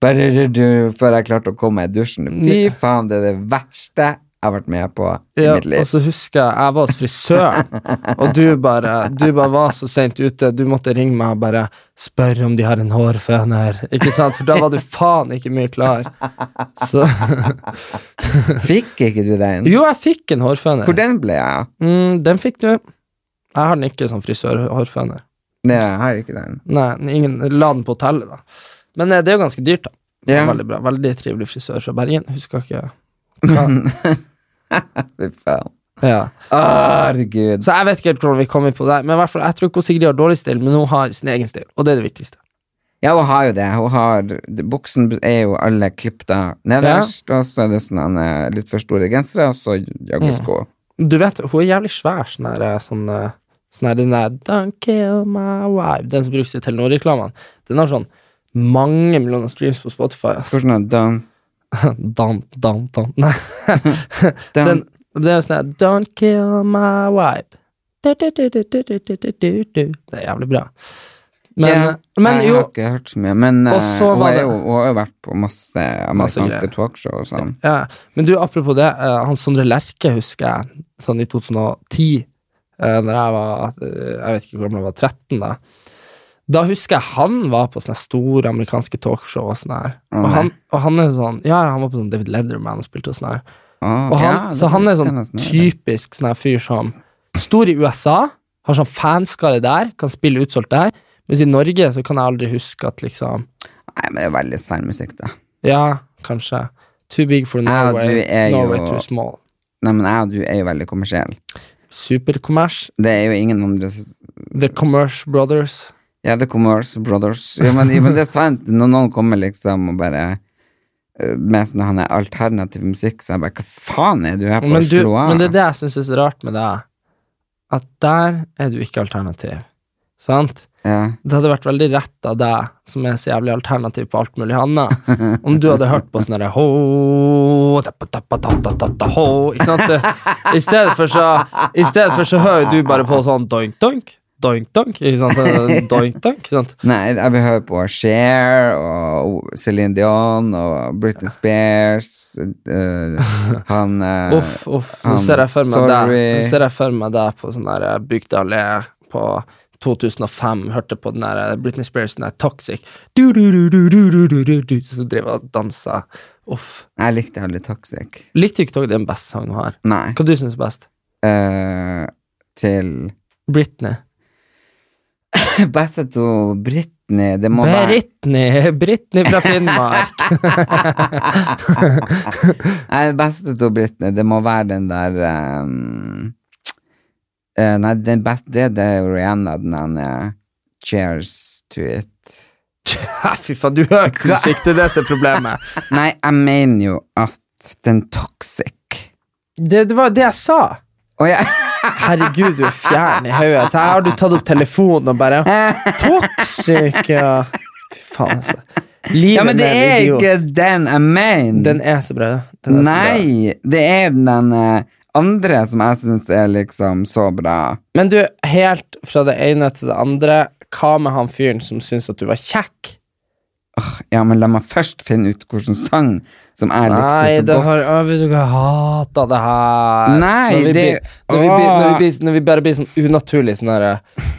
A: bare du, du, før jeg klarte å komme meg i dusjen. Fy
B: Ja.
A: faen, det er det verste jeg har vært med på i
B: Ja,
A: mitt liv.
B: og så husker jeg jeg var hos frisøren, og du bare, du bare var så seint ute. Du måtte ringe meg og bare spørre om de har en hårføner. Ikke sant? For da var du faen ikke mye klar. Så
A: Fikk ikke du den?
B: Jo, jeg fikk en hårføner.
A: Hvor den ble jeg av?
B: Mm, den fikk du. Jeg har den ikke som frisørhårføner.
A: Nei, jeg har ikke den.
B: Nei, ingen, la den på hotellet, da. Men eh, det er jo ganske dyrt, da. Det er
A: Ja.
B: Veldig bra. Veldig trivelig frisør fra Bergen. Husker ikke
A: Fy faen.
B: ja.
A: Herregud.
B: Så jeg vet ikke helt hvordan vi kommer på det, men i hvert fall, jeg tror ikke hun Sigrid har dårlig stil, men hun har sin egen stil, og det er det viktigste.
A: Ja, hun har jo det. Hun har, buksen er jo alle klippet av nederst, og så er det sånne eh, litt for store gensere, og så joggesko.
B: Du vet, hun er jævlig svær, sånn her eh, sånn, eh, sånn her, den der Don't kill my wife, den som brukes i Telenor-reklamene. Den har sånn mange millioner streams på Spotify. altså.
A: Hvordan
B: ass. [laughs]
A: sånn er den?
B: Dan, dan, dan. Nei. den, det er sånn her Don't kill my wife. Du, du, du, du, du, du, du, du, du. Det er jævlig bra. Men,
A: Ja,
B: men
A: jeg
B: jo
A: har ikke hørt så mye, men eh,
B: Og så
A: hun,
B: var
A: er
B: det-
A: jo, hun har jo vært på masse
B: Masse
A: amerikanske
B: greier.
A: talkshow og sånn.
B: ja. Men du, apropos det. eh, han Sondre Lerche husker jeg, sånn i 2010, uh, når jeg var eh, Jeg vet ikke hvor gammel jeg var, 13 da. Da husker jeg han var på sånne store amerikanske talkshow og sånn her. Og
A: Å, nei.
B: han, og han er jo sånn Ja, han var på sånn David Letterman og spilte og sånn her.
A: Å,
B: Og han,
A: ja, det
B: så han
A: husker
B: er
A: jeg
B: sånn
A: nesten, ja.
B: typisk sånn her fyr som Stor i USA, har sånn fanskare der, kan spille utsolgt der. Mens i Norge så kan jeg aldri huske at liksom
A: Nei, men det er veldig sær musikk, da.
B: Ja, kanskje. Too big for
A: Jeg og du
B: Norway,
A: er jo
B: Norway too small.
A: Nei, men jeg og du er jo veldig kommersiell.
B: Superkommers.
A: Det er jo ingen andre s-
B: The Commerce Brothers.
A: Ja, The Commerce Brothers. Ja, men, ja, men
B: [laughs]
A: det er sant. Når noen kommer liksom og bare eh, med sånn han er alternativ musikk, så jeg bare Hva faen er du her på
B: Men,
A: å
B: du,
A: slå av?
B: men det er det jeg syns er så rart med deg, at der er du ikke alternativ. Sant?
A: Ja.
B: Det hadde vært veldig rett av deg, som er så jævlig alternativ på alt mulig annet, om du hadde hørt på sånn derre ho, tappa, tappa, tatta, tatta, ho, ikke sant? Det- I stedet for så, i stedet for så hører du bare på sånn doink, doink, doink, doink, ikke sant? Doink, doink, ikke sant?
A: Nei, jeg vil høre på Cher og Céline Dion og Britney Spears eh,
B: [laughs]
A: Han eh,
B: Uff, uff. Nå
A: han-
B: ser jeg for meg deg
A: Sorry.
B: Nå ser jeg for meg deg på sånn der eh, Bygdø allé på 2005, hørte på den der eh, Britney Spears, den der Toxic du, du, du, du, du, du, du, du, du, Så driver og danser. Uff.
A: Jeg likte aldri Toxic.
B: Likte du ikke Toxic? Det er den beste sangen hun har.
A: Nei.
B: Hva du syns er best?
A: Eh, til [clears throat]
B: Britney.
A: Beste til Britney. Det må være
B: Britney, [laughs] Britney fra [laughs] Finnmark.
A: Nei, det beste til Britney, det må være den der ehm, eh, Nei, den beste, det, det er jo Rihanna, den der Cheers to it.
B: Ja, Fy faen, du hører ikke musikk, det er det som er problemet.
A: Nei, jeg mener jo at den toxic
B: Det, det var det jeg sa. Herregud, du er fjern i hodet. Så Her har du tatt opp telefonen og bare Toxic, ja. Fy faen, altså.
A: [laughs]
B: Livet
A: Ja, men det
B: med en
A: er
B: idiot.
A: ikke den jeg mener.
B: Den er så bra. Den er så
A: Nei, det er den eh, andre som jeg syns er liksom så bra.
B: Men du, helt fra det ene til det andre, hva med han fyren som syntes at du var kjekk?
A: Ja, men la meg først finne ut hvilken sang som jeg
B: Nei,
A: likte så
B: den
A: godt.
B: har Å, Hvis dere hater det her
A: Nei,
B: når vi,
A: det-
B: blir, når, vi blir, når, vi
A: Åh.
B: blir, når vi bare blir sånn unaturlig sånn her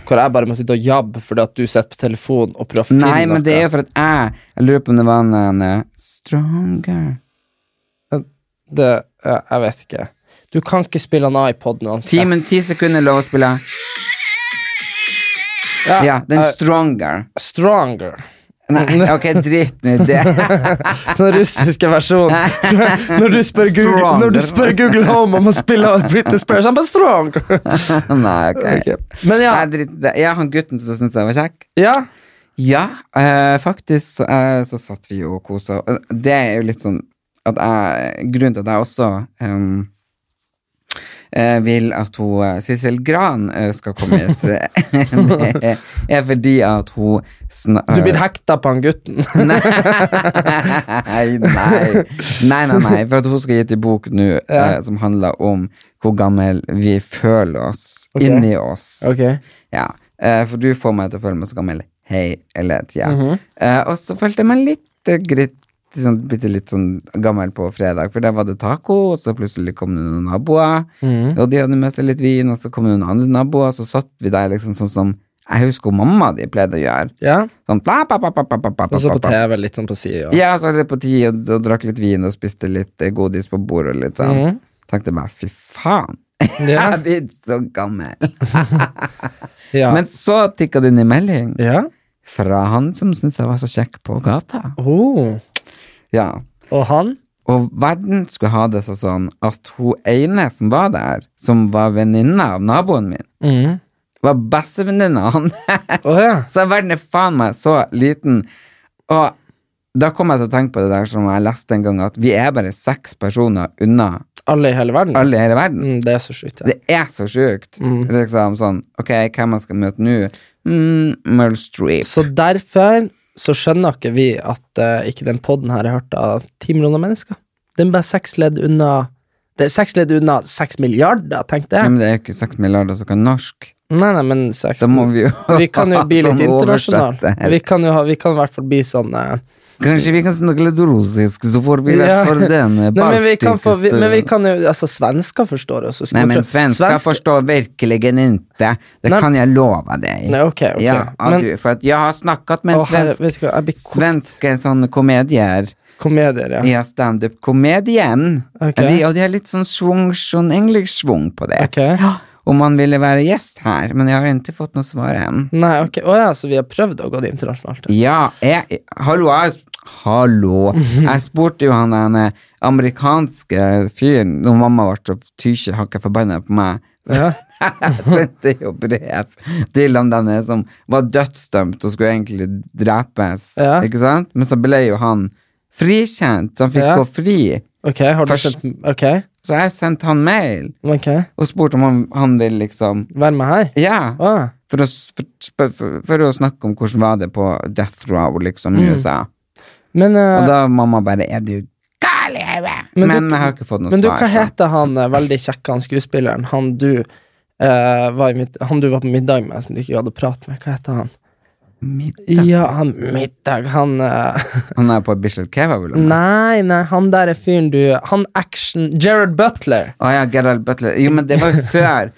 B: Hvor jeg bare må sitte og jabbe fordi at du sitter på telefonen og prøver å finne
A: Nei, men det er
B: noe.
A: jo for at jeg Jeg lurer på om det var en eh, Stronger
B: Det, ja, Jeg vet ikke. Du kan ikke spille en iPod nå.
A: Ti, men ti sekunder lov å spille. Ja, den
B: eh,
A: Stronger. [laughs]
B: Stronger.
A: Nei,
B: [laughs]
A: ok, drit nå i det.
B: Sånn russiske versjon. Når du spør Google, når du spør Google Home om å spille Britney Spears, han bare Stronger.
A: [laughs] Nei, [laughs] ok.
B: Men ja.
A: Jeg driter i det. Ja, han gutten som syntes jeg var kjekk.
B: Ja.
A: eh, faktisk så, eh, så satt vi jo og kosa. Og Det er jo litt sånn at jeg Grunnen til at jeg også ehm, eh, vil at hun eh, Sissel Gran eh, skal komme hit,
B: [laughs]
A: det [laughs] er fordi at hun snar...
B: Du blir hekta på han gutten.
A: Nei, nei. nei, nei, nei. For at hun skal gi ut en bok nå eh, som handler om hvor gammel vi føler oss
B: Ok.
A: inni oss.
B: Ok.
A: Ja, eh, For du får meg til å føle meg så gammel hele tida.
B: Mhm.
A: eh, og så følte jeg meg litt eh, gritt. Sånn, bitte litt sånn gammel på fredag, for der var det taco, og så plutselig kom det noen naboer.
B: Mhm.
A: Og de hadde med seg litt vin, og så kom det noen andre naboer, og så satt vi der liksom sånn som jeg husker mamma di pleide å gjøre.
B: Ja.
A: Sånn, bla, bla, bla, bla, bla, bla, bla,
B: Og så på
A: bla.
B: TV, litt sånn på sida.
A: Ja, så hadde jeg på ti og, og drakk litt vin og spiste litt eh, godis på bordet og litt sånn.
B: Mhm.
A: Tenkte bare, fy faen, jeg
B: Mm.
A: [laughs]
B: Ja.
A: er blitt så gammel.
B: Ja.
A: Men så tikka det inn en melding
B: ja.
A: fra han som syntes jeg var så kjekk på gata.
B: Oh.
A: Ja.
B: Og han?
A: Og verden skulle ha det så sånn at hun ene som var der, som var venninna av naboen min,
B: Mhm.
A: var bestevenninna hans.
B: ja.
A: [laughs] Så verden er faen meg så liten. Og da kom jeg til å tenke på det der som jeg leste en gang, at vi er bare seks personer unna
B: Alle i hele verden.
A: alle i hele verden.
B: Mm, det er så sjukt. Ja.
A: Det er så sjukt.
B: Mm.
A: Det er Liksom sånn, ok, hvem jeg skal møte nå? Mm, Meryl Streep.
B: Så derfor så skjønner ikke vi at eh, ikke den poden her er hørt av ti millioner mennesker. Den er bare seks ledd unna Det er seks ledd unna seks milliarder, tenkte
A: Ja,
B: jeg.
A: men det er jo ikke seks milliarder som kan norsk.
B: Nei, nei, men seks
A: Da må vi jo
B: [laughs] Vi kan jo
A: [laughs]
B: bli
A: ha
B: litt
A: sånn
B: internasjonale.
A: oversetter.
B: Vi kan jo ha, vi kan i hvert fall bli sånn eh,
A: Kanskje vi kan snakke litt russisk, så får vi i hvert fall den eh,
B: [laughs] Nei, men, vi kan få, vi,
A: baltiske
B: men vi kan jo Altså, svensker forstår oss.
A: Nei, men svensker forstår virkelig ikke. Det
B: Nei.
A: kan jeg love deg.
B: Nei, ok, ok.
A: Ja, at
B: Men-
A: du, for at jeg har snakket med en
B: Å, herre,
A: svensk
B: vet du hva, jeg blir kokt.
A: Svenske sånne komedier.
B: Komedier, ja.
A: Ja, standup-komedien.
B: Ok.
A: Ja, de- Og de har litt sånn svung, sånn engelsk-svung på det.
B: Ok.
A: Om man ville være gjest her, men jeg har ikke fått noe svar ennå.
B: Nei, ok. Å ja, så vi har prøvd å gå det internasjonalt.
A: Ja, jeg Hallo, jeg Hallo. Jeg spurte jo han den amerikanske fyren når mamma ble så tykje hakka forbanna på meg.
B: Ja.
A: [laughs] jeg sendte jo brev til han denne som var dødsdømt og skulle egentlig drepes,
B: Ja.
A: ikke sant? Men så ble jo han frikjent, så han fikk
B: Ja.
A: gå fri.
B: Ok, har du
A: Først-
B: sendt Ok.
A: Så jeg sendte han mail og spurte om han, han ville liksom
B: Være med her?
A: Ja. For, å, s- for, spør- for, for å snakke om hvordan var det på Death Row, liksom, i
B: Mm.
A: USA.
B: Men, eh,
A: og da mamma bare Er du gal i hodet? Men,
B: du-
A: jeg har ikke fått noe
B: Men du,
A: svar.
B: hva
A: så.
B: heter han eh, veldig kjekke han skuespilleren? Han du, eh, var i mitt, han du var på middag med, som du ikke hadde prat med. Hva heter han?
A: Middag?
B: Ja, han middag. Han eh, [laughs]
A: Han er på Bislett Cava, vel?
B: Nei, nei, han der er fyren du Han action Gerard Butler.
A: Å ja, Gerald Butler. Jo, men det var
B: [laughs]
A: jo før.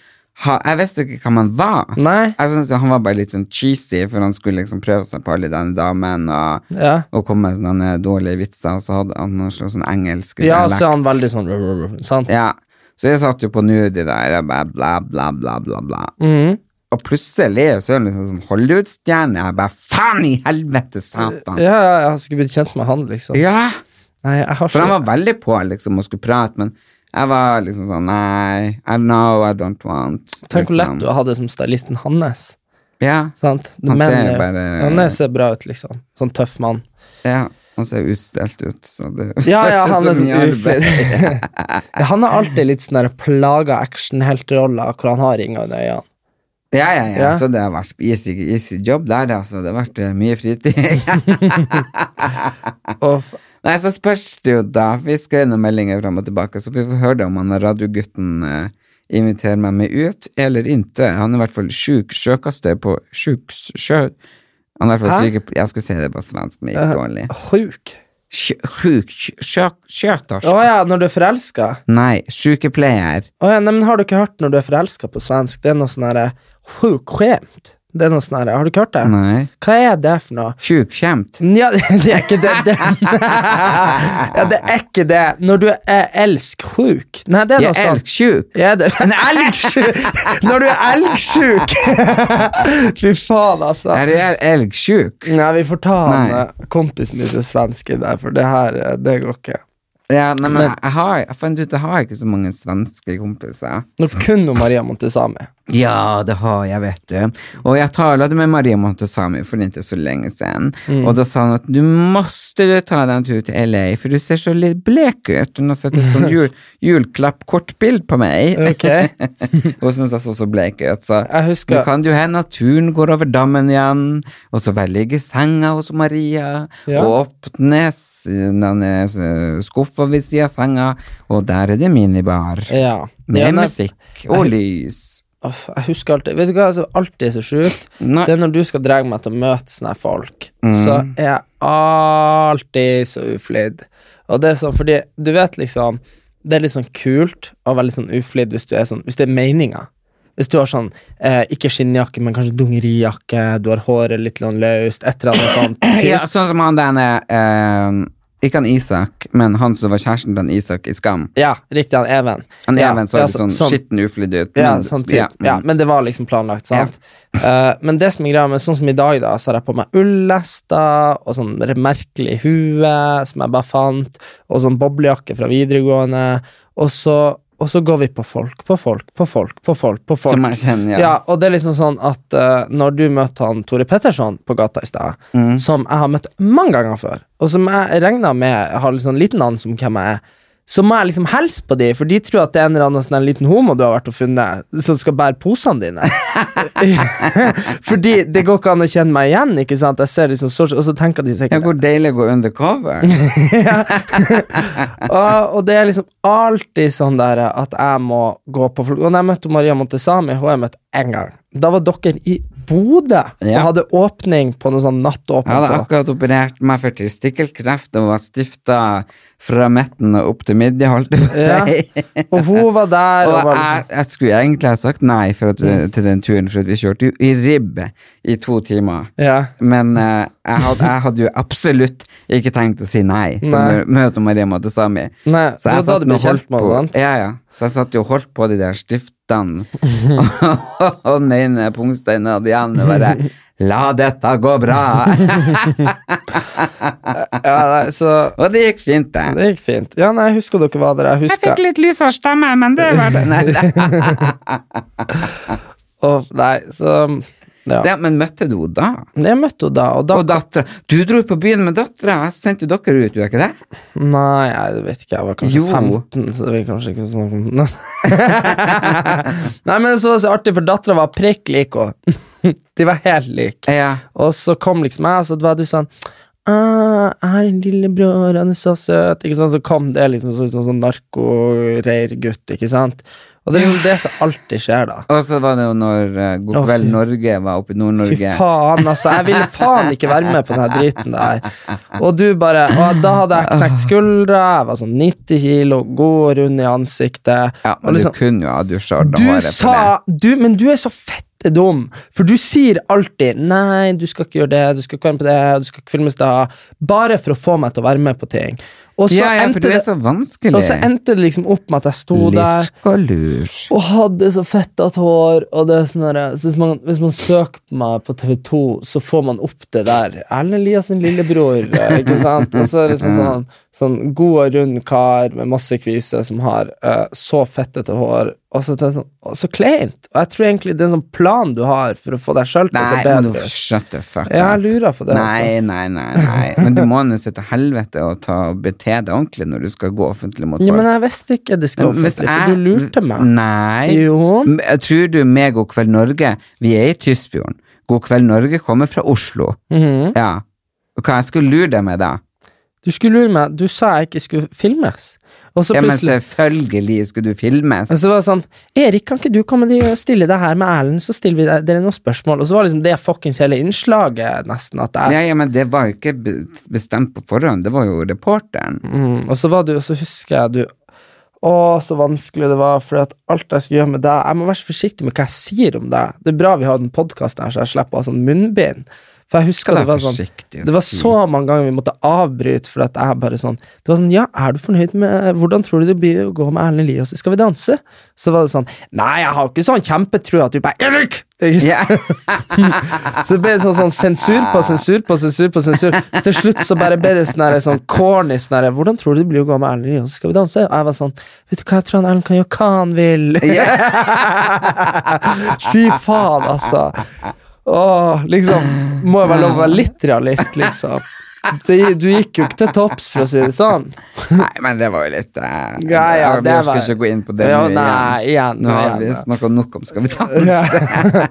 A: Ha, jeg visste jo ikke hva man var. Jeg synes jo Han var bare litt sånn cheesy, for han skulle liksom prøve seg på alle de damene og,
B: Ja.
A: og komme med sånne dårlige vitser, og så hadde han noe slags sånn engelsk
B: Ja,
A: dialekt.
B: så er han veldig sånn [laughs] sant?
A: Ja. Så jeg satt jo på Nudi der, jeg bare bla, bla, bla, bla, bla.
B: Mhm.
A: Og plutselig så er han liksom sånn Hollywood-stjerne. Jeg bare faen i helvete, satan!
B: Ja, ja, jeg har ikke blitt kjent med han, liksom.
A: Ja.
B: Nei, jeg har
A: For
B: ikke-
A: han var veldig på liksom, og skulle prate, men jeg var liksom sånn Nei, I know I don't want
B: Tenk hvor lett
A: liksom.
B: du har det som stylisten hans.
A: Ja.
B: Sant?
A: Han
B: Men,
A: ser
B: eh,
A: bare-
B: Han er- ser bra ut, liksom. Sånn tøff mann.
A: Ja, han ser utstelt ut, så [laughs] det
B: Ja, ja, han er
A: så
B: sånn
A: mye arbeid.
B: uflid. ja, han har alltid litt sånn der plaga actionhelteroller hvor han har ringer under øynene.
A: [laughs] ja, ja, ja,
B: Ja.
A: så det har vært easy, easy jobb der, altså. Det har vært eh, mye fritid. Nei, så spørs det jo da. Vi skrev noen meldinger fram og tilbake, så vi får høre om han radiogutten eh, inviterer meg med ut eller ikke. Han er i hvert fall sjuk sjøkastøy på sjuk sjø... Han er i hvert fall
B: Hæ?
A: syke... Jeg skulle si det på svensk, men
B: Eh,
A: gikk dårlig.
B: Sjuk?
A: Sjuk sjøkasj?
B: Å ja, når du er forelska?
A: Nei, sjukepleier.
B: Å ja, nei, men har du ikke hørt når du er forelska på svensk? Det er noe sånn herre sjukskjemt. Det er noe sånn herre Har du ikke hørt det?
A: Nei.
B: Hva er det for noe?
A: Sjukskjemt?
B: [laughs] Ja, det er ikke det. det. ja, det er ikke det. Når du er elgsjuk. Nei, det er
A: Jeg
B: noe
A: er
B: sånt.
A: elgsjuk.
B: Ja, det, [laughs] en elgsjuk! Når du er elgsjuk! [laughs] Fy faen, altså.
A: Er jeg elgsjuk?
B: Nei, vi får ta han,
A: Nei.
B: eh, kompisen din til svenske der, for det her, eh, det går ikke.
A: Ja, nei, men,
B: Men-
A: jeg, har, jeg fant ut jeg har ikke så mange svenske kompiser.
B: Nå kun om Maria Montesami.
A: Ja, det har jeg, vet du. Og jeg talte med Maria Montesami for ikke så lenge siden,
B: Mm.
A: og da sa hun at du måste du ta deg en tur til LA, for du ser så litt blek ut. Hun har sett et sånn
B: [laughs]
A: jul, julklapp-kortbild på meg,
B: Ok.
A: [laughs] og syntes jeg så så blek ut. Så
B: Jeg husker-
A: nå kan det jo hende at turen går over dammen igjen, og så bare ligger senga hos Maria,
B: Ja.
A: og åpnes denne eh, skuffa ved siden av senga, og der er det minibar.
B: Ja.
A: Med
B: Ja, nei,
A: musikk og
B: jeg-
A: lys.
B: Uff, Jeg husker alltid Vet du hva som alltid er så sjukt?
A: Nei.
B: Det er når du skal dra meg til å møte sånne her folk,
A: Mm.
B: så er jeg alltid så uflidd. Og det er sånn fordi Du vet liksom Det er litt sånn kult å være litt sånn uflidd hvis du er sånn Hvis det er meninga. Hvis du har sånn eh, ikke skinnjakke, men kanskje dungerijakke, du har håret litt sånn løst, et eller annet sånt.
A: [coughs] Ja, sånn som han denne eh, Ikke han Isak, men han som var kjæresten til han Isak i Skam.
B: Ja, riktig, han Even.
A: Han
B: Ja,
A: Even så
B: ja,
A: litt sånn,
B: sånn-
A: skitten, uflidd ut.
B: Ja,
A: men-
B: sånn typ.
A: ja,
B: ja,
A: mm.
B: men det var liksom planlagt, sant? Eh, men det som er greia med sånn som i dag, da, så har jeg på meg ullester og sånn merkelig hue som jeg bare fant, og sånn boblejakke fra videregående, og så, og så går vi på folk, på folk, på folk, på folk, på folk.
A: Som jeg kjenner, ja.
B: og det er liksom sånn at eh, når du møter han Tore Petterson på gata i stad,
A: Mm.
B: som jeg har møtt mange ganger før, og som jeg regner med har liksom liten anelse om hvem jeg er, så må jeg liksom hilse på de, for de tror at det er en eller annen sånn en liten homo du har vært og funnet, som skal bære posene dine.
A: [laughs]
B: [laughs] Fordi det går ikke an å kjenne meg igjen, ikke sant? Jeg ser liksom så, og så tenker de sikkert
A: Ja, hvor deilig å gå
B: [laughs]
A: undercover.
B: og, og det er liksom alltid sånn der at jeg må gå på folk. Og når jeg møtte Maria Montesami, hun har jeg møtt én gang. Da var dere i Bodø og
A: Ja.
B: hadde åpning på noe sånn nattåpent.
A: Jeg hadde
B: på-
A: akkurat operert meg for testikkelkreft og var stifta fra midten og opp til midje, holdt jeg på å si.
B: Ja. Og hun var der.
A: [laughs]
B: Og
A: Og
B: var
A: jeg,
B: liksom,
A: jeg skulle egentlig ha sagt nei for at, til den turen, for at vi kjørte jo i ribb i to timer.
B: Ja.
A: Men eh, jeg, hadde, jeg hadde jo absolutt ikke tenkt å si nei til å
B: Nei.
A: mø- møte Maria Montesami.
B: Nei, det var da
A: satt
B: du ble
A: nå og holdt
B: kjent med
A: på-
B: henne, sant?
A: Ja, ja. Så jeg satt jo og holdt på de der
B: [laughs]
A: stiftene, [laughs] og den ene pungsteinen og den andre bare La dette gå
B: [laughs]
A: bra! og det gikk fint, det.
B: det gikk fint. Ja, nei, jeg husker dere var der. Jeg
A: Jeg
B: husker
A: fikk litt lysere [laughs] stemme, men det var det. Nei,
B: Og, nei, så
A: Det, men møtte du henne da?
B: Jeg møtte henne da. Og, da,
A: dattera. Du dro på byen med dattera, jeg sendte jo dere ut, gjorde jeg ikke det?
B: Nei, jeg vet ikke, jeg var kanskje
A: Jo.
B: 15, så det vil kanskje ikke snakke om [laughs] det. Nei, men så var det så artig, for dattera var prikk lik henne. [laughs] De var helt like. Og så kom liksom jeg, og så var du sånn «Ah, jeg har en lillebror, han er så søt. Ikke sant? Så kom det liksom så, sånn, sånn narkoreirgutt, ikke sant. Og det er liksom det som alltid skjer, da.
A: Og så var det jo når eh, God
B: Å,
A: kveld
B: fy.
A: Norge var oppe i Nord-Norge.
B: Fy faen, altså. Jeg ville faen ikke være med på den her driten der. Og du bare Og da hadde jeg knekt skuldra, jeg var sånn 90 kilo, god og rund i ansiktet.
A: Ja,
B: og
A: men du kunne jo ha dusja og ordna
B: du
A: håret på det.
B: sa du, Men du er så fette dum, for du sier alltid 'nei, du skal ikke gjøre det, du skal ikke være med på det, du skal ikke filmes da', bare for å få meg til å være med på ting. Og så,
A: Ja, ja, for
B: endte,
A: du er
B: det,
A: så vanskelig.
B: og så endte det liksom opp med at jeg sto der
A: Lirk og lurs.
B: og hadde så fettet hår. Og det er sånn der, så hvis, man, hvis man søker på meg på TV2, så får man opp det der. Erlend Elias sin lillebror. eh, Ikke sant? Og så er det sånn, sånn, sånn god og rund kar med masse kviser som har eh, så fettete hår. Og så, tenker jeg sånn, og så kleint. Og jeg tror egentlig det er en sånn plan du har for å få deg sjøl til å se
A: Nei, men
B: bedre
A: du,
B: ut.
A: shut the fuck
B: Ja,
A: up.
B: altså. jeg lurer på det.
A: Nei, nei, nei, nei. Men du må nå se til helvete og ta og bete deg ordentlig når du skal gå offentlig mot
B: Altså. Ja,
A: folk.
B: men jeg visste ikke det skulle
A: Men hvis
B: offentlig,
A: jeg-
B: for du lurte meg.
A: Nei. M- Jeg tror du med God kveld Norge Vi er i Tysfjorden. God kveld Norge kommer fra Oslo.
B: Mhm.
A: Ja. Og hva jeg skulle lure deg med da?
B: Du skulle lure meg. Du sa jeg ikke skulle filmes. Og så
A: ja, men
B: plutselig
A: selvfølgelig skulle du filmes.
B: Og så var det sånn Erik, kan ikke du komme de- og stille deg her med Erlend, så stiller vi deg- dere noen spørsmål? Og så var liksom det fuckings hele innslaget, nesten, at jeg
A: ja, ja, men det var jo ikke be- bestemt på forhånd, det var jo reporteren.
B: Mm, og så var du, og så husker jeg du Å, så vanskelig det var, for at alt jeg skulle gjøre med deg Jeg må være så forsiktig med hva jeg sier om deg. Det er bra vi har den podkasten her, så jeg slipper å ha sånn munnbind. For jeg husker
A: Skal
B: det
A: være
B: var sånn
A: forsiktig å
B: Det var
A: si.
B: så mange ganger vi måtte avbryte, for at jeg bare sånn Det var sånn Ja, er du fornøyd med Hvordan tror du det blir å gå med Erlend Elias i Skal vi danse? Så var det sånn Nei, jeg har ikke sånn kjempetro at du bare Erik! Ikke sant? så det ble sånn, sånn sensur på sensur på sensur på sensur. Så til slutt så bare ble det sånn her, sånn corny sånn her, Hvordan tror du det blir å gå med Erlend Elias? Skal vi danse? Og jeg var sånn Vet du hva, jeg tror han Erlend kan gjøre hva han vil. [laughs] Fy faen, altså. Åh, liksom Må jo være lov å være litt realist, liksom. Det, du gikk jo ikke til topps, for å si det sånn.
A: [laughs] Nei, men det var jo litt eh,
B: Ja, ja,
A: Jeg
B: det
A: skal
B: var-
A: ikke gå inn på det
B: Ja,
A: nå
B: nei, igjen,
A: Nå har
B: igjen.
A: vi snakka nok om Skal vi
B: [laughs]
A: danse.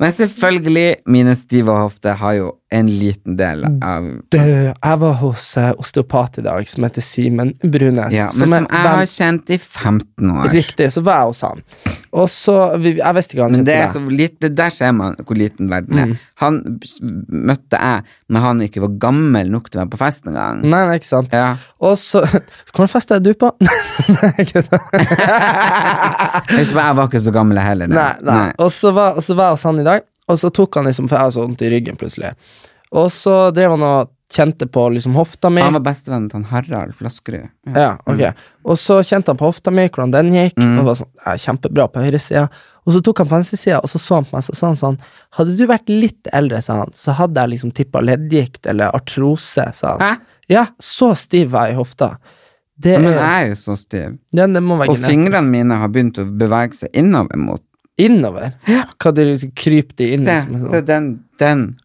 A: men selvfølgelig, mine stive hofter har jo en liten del
B: Mm.
A: av
B: Du, jeg var hos eh, osteopat i dag, som heter Simen Brunes.
A: ja, Men som
B: Altså, er
A: jeg har
B: venn-
A: kjent i 15 år.
B: Riktig, så var jeg hos han. Og så vi- Jeg visste ikke han
A: Men det er
B: het
A: så lite, der ser man hvor liten verden er.
B: Mm.
A: Han s- møtte jeg når han ikke var gammel nok til å være på fest engang.
B: Nei, nei, ikke sant.
A: Ja.
B: Og så [laughs] Hvordan fest er du på? [laughs]
A: Husk på, Jeg var ikke så gammel jeg heller. da.
B: nei, nei. Og så var, og så var jeg hos han i dag, og så tok han liksom For jeg har så vondt i ryggen plutselig. Og så drev han og kjente på liksom hofta mi.
A: Han var Mm. bestevennen til han Harald Flaskerud.
B: Ja, ok. Og så kjente han på hofta mi, hvordan den gikk.
A: Mm.
B: Og var sånn, «Ja, kjempebra på høyresida. Og så tok han på venstresida, og så så han på meg så sa han sånn Hadde du vært litt eldre, sa han, så hadde jeg liksom tippa leddgikt eller artrose, sa han. Ja, så stiv var jeg i hofta. Det
A: Men
B: er-
A: jeg er jo så stiv.
B: Ja, det må være
A: Og
B: genetisk.
A: fingrene mine har begynt å bevege seg innover mot
B: Innover? Hva det liksom kryper de inn
A: Se,
B: som en sånn-
A: se den, den.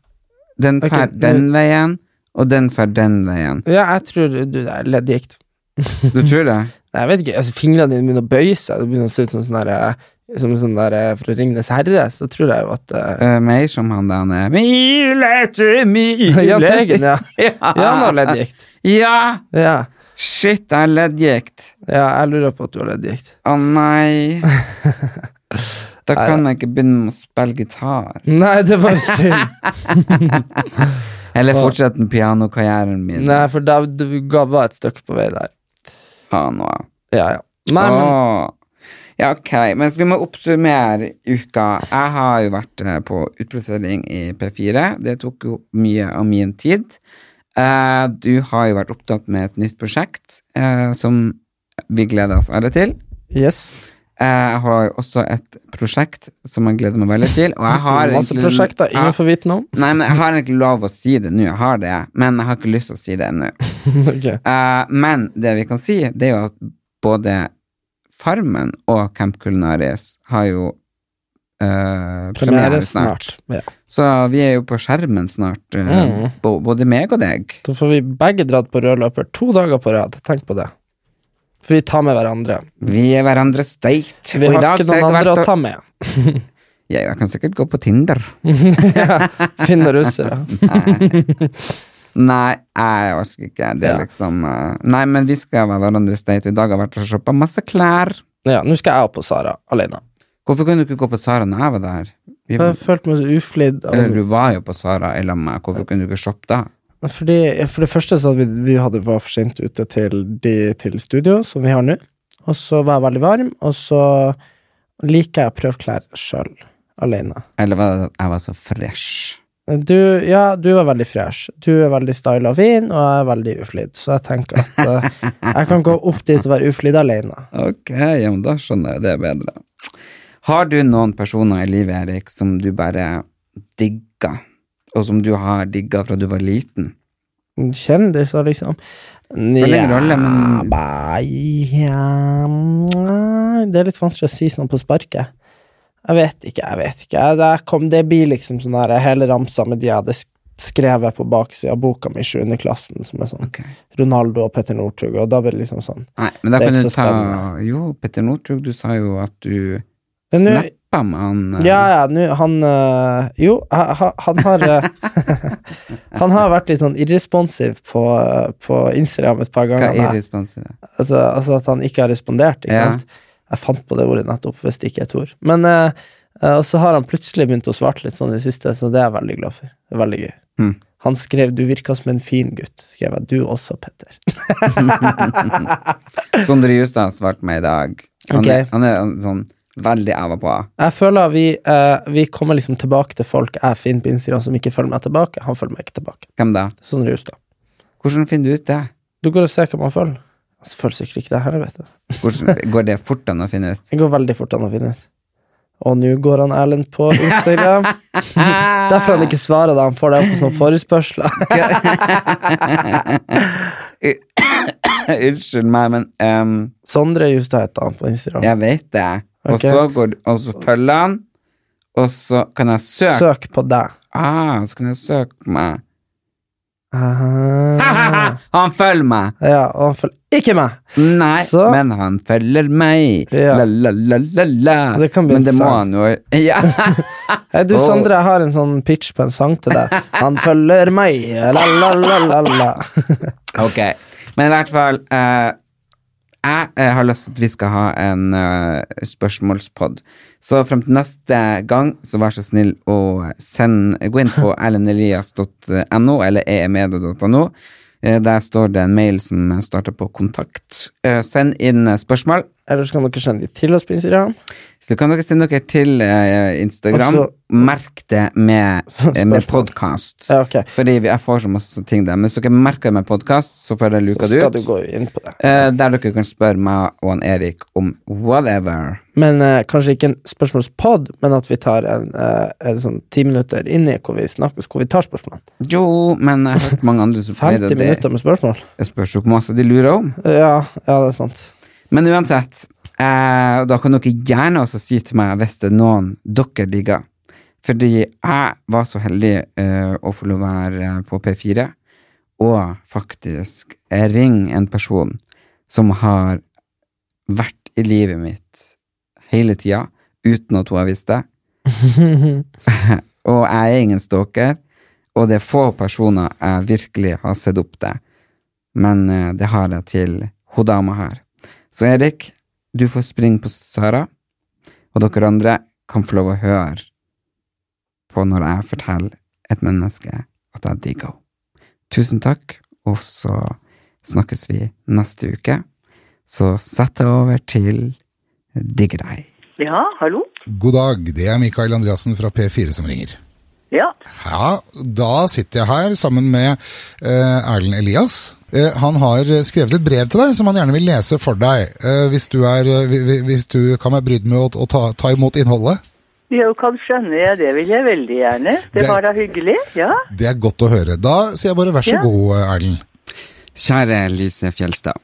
A: Den
B: Ok,
A: fer
B: nå-
A: den veien, og den fer den veien.
B: Ja, jeg tror du det er leddgikt. [laughs]
A: Du tror det?
B: Nei, jeg vet ikke, altså Fingrene dine begynner å bøye seg. Det begynner å se ut som sånn der, eh, som en sånn der eh, fra Ringenes herre. Så tror jeg jo at eh, [laughs]
A: Eh, mer som han der nede. Mile til mile
B: Jahn
A: [laughs]
B: Teigen, [laughs] ja. Ja, han har leddgikt.
A: Ja!
B: Ja.
A: Shit, jeg har leddgikt.
B: Ja, jeg lurer på at du har leddgikt.
A: Å
B: [laughs]
A: nei. Da
B: Nei,
A: kan jeg ikke begynne med å spille gitar.
B: Nei, det var jo
A: [laughs]
B: synd.
A: Eller fortsette den pianokarrieren min.
B: Nei, for da du ga bare et stykke på vei der.
A: Faen òg.
B: Ja, ja. Nei, men-
A: Åh. Ja, ok. Men skal vi må oppsummere uka. Jeg har jo vært eh, på utplassering i P4. Det tok jo mye av min tid. Eh, Du har jo vært opptatt med et nytt prosjekt eh, som vi gleder oss alle til. Eh,
B: Yes.
A: Jeg har også et prosjekt som jeg gleder meg veldig til. Og jeg har
B: [laughs] Masse
A: egentlig-
B: prosjekter ingen
A: Ja.
B: får vite noe om.
A: Nei, men jeg har egentlig lov å si det nå. Jeg har det, men jeg har ikke lyst til å si det ennå.
B: [laughs] Ok.
A: Eh, men det vi kan si, det er jo at både Farmen og Camp Culinaris har jo eh,
B: Premiere
A: premiere
B: snart,
A: snart.
B: ja.
A: Så vi er jo på skjermen snart, eh,
B: Mm.
A: bo- både meg og deg.
B: Da får vi begge dratt på rød løper to dager på rad. Tenk på det. For vi tar med hverandre.
A: Vi er hverandres date.
B: Vi
A: og i
B: har
A: dag
B: ikke
A: så har
B: noen
A: jeg
B: andre
A: vært
B: å
A: og-
B: ta Mm. med. [laughs]
A: Ja, jeg kan sikkert gå på Tinder.
B: Finne russere.
A: Nei. Nei, jeg orker ikke. Det er liksom eh, Nei, men vi skal være hverandres date. I dag har jeg vært og shoppa masse klær.
B: Ja, nå skal jeg opp på Sara alene.
A: Hvorfor kunne du ikke gå på Sara når jeg var der? Vi,
B: Jeg har følt meg så uflidd.
A: eller
B: av-
A: du var jo på Sara i lag med meg. Hvorfor kunne du ikke shoppe da?
B: Altså, Fordi, for det første så hadde vi, vi hadde, var for sent ute til, de, til studio, som vi har nå. Og så var jeg veldig varm, og så liker jeg å prøve klær sjøl, alene.
A: Eller var det at jeg var så fresh?
B: Du, ja, du er veldig fresh. Du er veldig styla og fin, og jeg er veldig uflidd. Så jeg tenker at eh, jeg kan gå opp dit og være uflidd alene.
A: Ok, ja, men da skjønner jeg det bedre. Har du noen personer i livet, Erik, som du bare digger, og som du har digga fra du var liten?
B: Kjendiser, liksom.
A: Spiller ingen rolle, men
B: Nei, ja, nei, Det er litt vanskelig å si sånn på sparket. Jeg vet ikke, jeg vet ikke. Jeg- Det, kom, det blir liksom sånn her hele ramsa med de jeg hadde sk- skrevet på baksida av boka mi i 7. klassen, som er sånn Ronaldo og Petter Northug, og da blir det liksom sånn.
A: Nei, men da
B: Det er
A: kan
B: ikke
A: du
B: så
A: ta
B: spennende.
A: Jo, Petter Northug, du sa jo at du
B: Men nå-
A: snappa med han eh,
B: Ja, ja, nå han øh, Jo, ha- ha- han har øh, [laughs] Han har vært litt sånn irresponsiv på, øh, på Instagram et par ganger.
A: Hva er responsivet?
B: Altså, altså at han ikke har respondert, ikke
A: Ja.
B: sant? Jeg fant på det ordet nettopp, hvis det ikke er et ord. Men eh, eh, Og så har han plutselig begynt å svare litt sånn i det siste, så det er jeg veldig glad for. Det er veldig gøy.
A: Mm.
B: Han skrev 'du virka som en fin gutt', skrev jeg. Du også, Petter.
A: Sondre Justad svarte meg i dag. Han,
B: Ok.
A: er, han er en sånn veldig av og på.
B: Jeg føler vi, eh, vi kommer liksom tilbake til folk jeg finner på Instagram som ikke følger meg tilbake. Han følger meg ikke tilbake.
A: Hvem
B: Sånn
A: da?
B: Sondre Justad.
A: Hvordan finner du ut det?
B: Du går og ser hvem han følger. Han følger Altså, sikkert ikke det her, vet du.
A: Hvordan, går det fort an å finne ut? [laughs]
B: Det går veldig fort an å finne ut. Og nå går han Erlend på [laughs] Instagram. Derfor han ikke svarer da han får det opp på sånn sånne forespørsler.
A: Unnskyld meg, men ehm,
B: [laughs] Sondre Justad heter han på Instagram.
A: Jeg vet det. Og,
B: Ok.
A: så går, du- og så følger han, og så kan jeg søke.
B: Søk på deg.
A: Ah, så kan jeg søke på meg.
B: [laughs] Ah.
A: Han følger meg!
B: Ja, og han følger ikke meg!
A: Nei,
B: Så-
A: men han følger meg. La, la, la, la, la.
B: Det kan bli
A: men det
B: en
A: må
B: sang.
A: han jo [laughs] ja.
B: Hei, du,
A: Oh.
B: Sondre, jeg har en sånn pitch på en sang til deg. Han følger meg, la, la, la, la, la. [laughs]
A: Ok. Men i hvert fall eh, Jeg eh, har lyst til at vi skal ha en eh, spørsmålspod. Så fram til neste gang, så vær så snill å send, gå inn
B: [laughs]
A: på erlendelias.no eller eemedia.no. Eh, Der står det en mail som starter på kontakt. Eh, Send inn eh, spørsmål.
B: Eller så kan dere sende de til oss på Instagram.
A: Så kan dere sende dere til eh, Instagram.
B: Og så-
A: Merk det med, eh, med podkast.
B: Ja, ok.
A: Fordi vi- jeg får så masse ting der. Men hvis dere merker det med podkast, så får jeg luka
B: Så
A: det
B: skal
A: ut.
B: du gå inn på det.
A: Eh, der dere kan spørre meg og han Erik om whatever.
B: Men eh, kanskje ikke en spørsmålspod, men at vi tar en, eh, en sånn ti minutter inn i hvor vi snakker, hvor vi tar spørsmålene.
A: Jo, men jeg har hørt mange andre
B: [laughs]
A: som
B: 50 minutter med spørsmål.
A: Jeg spør så masse de lurer om.
B: Ja, ja, det er sant.
A: Men uansett, eh, da kan dere gjerne også si til meg hvis det er noen dere digger. Fordi jeg var så heldig eh, å få lov å være eh, på P4, og faktisk eh, ring en person som har vært i livet mitt hele tida, uten at hun har visst det. og jeg er ingen stalker, og det er få personer jeg virkelig har sett opp til. Men eh, det har jeg til hun dama her. Så Erik, du får springe på Sara, og dere andre kan få lov å høre på når jeg forteller et menneske at jeg digger henne. Tusen takk, og så snakkes vi neste uke. Så sett deg over til Digger deg.
J: Ja, hallo?
C: God dag, det er Mikael Andreassen fra P4 som ringer.
J: Ja.
C: Ja, da sitter jeg her sammen med eh, Erlend Elias. Eh, han har skrevet et brev til deg som han gjerne vil lese for deg, eh, hvis, du er, eh, hvi- hvi- hvis du kan være brydd med å, å ta, ta imot innholdet.
J: Jo, kan skjønne jeg. Det vil jeg veldig gjerne. Det
C: Det-
J: var da hyggelig. Ja.
C: Det er godt å høre. Da sier jeg bare vær så
J: Ja.
C: god, eh, Erlend.
A: Kjære Lise Fjelstad.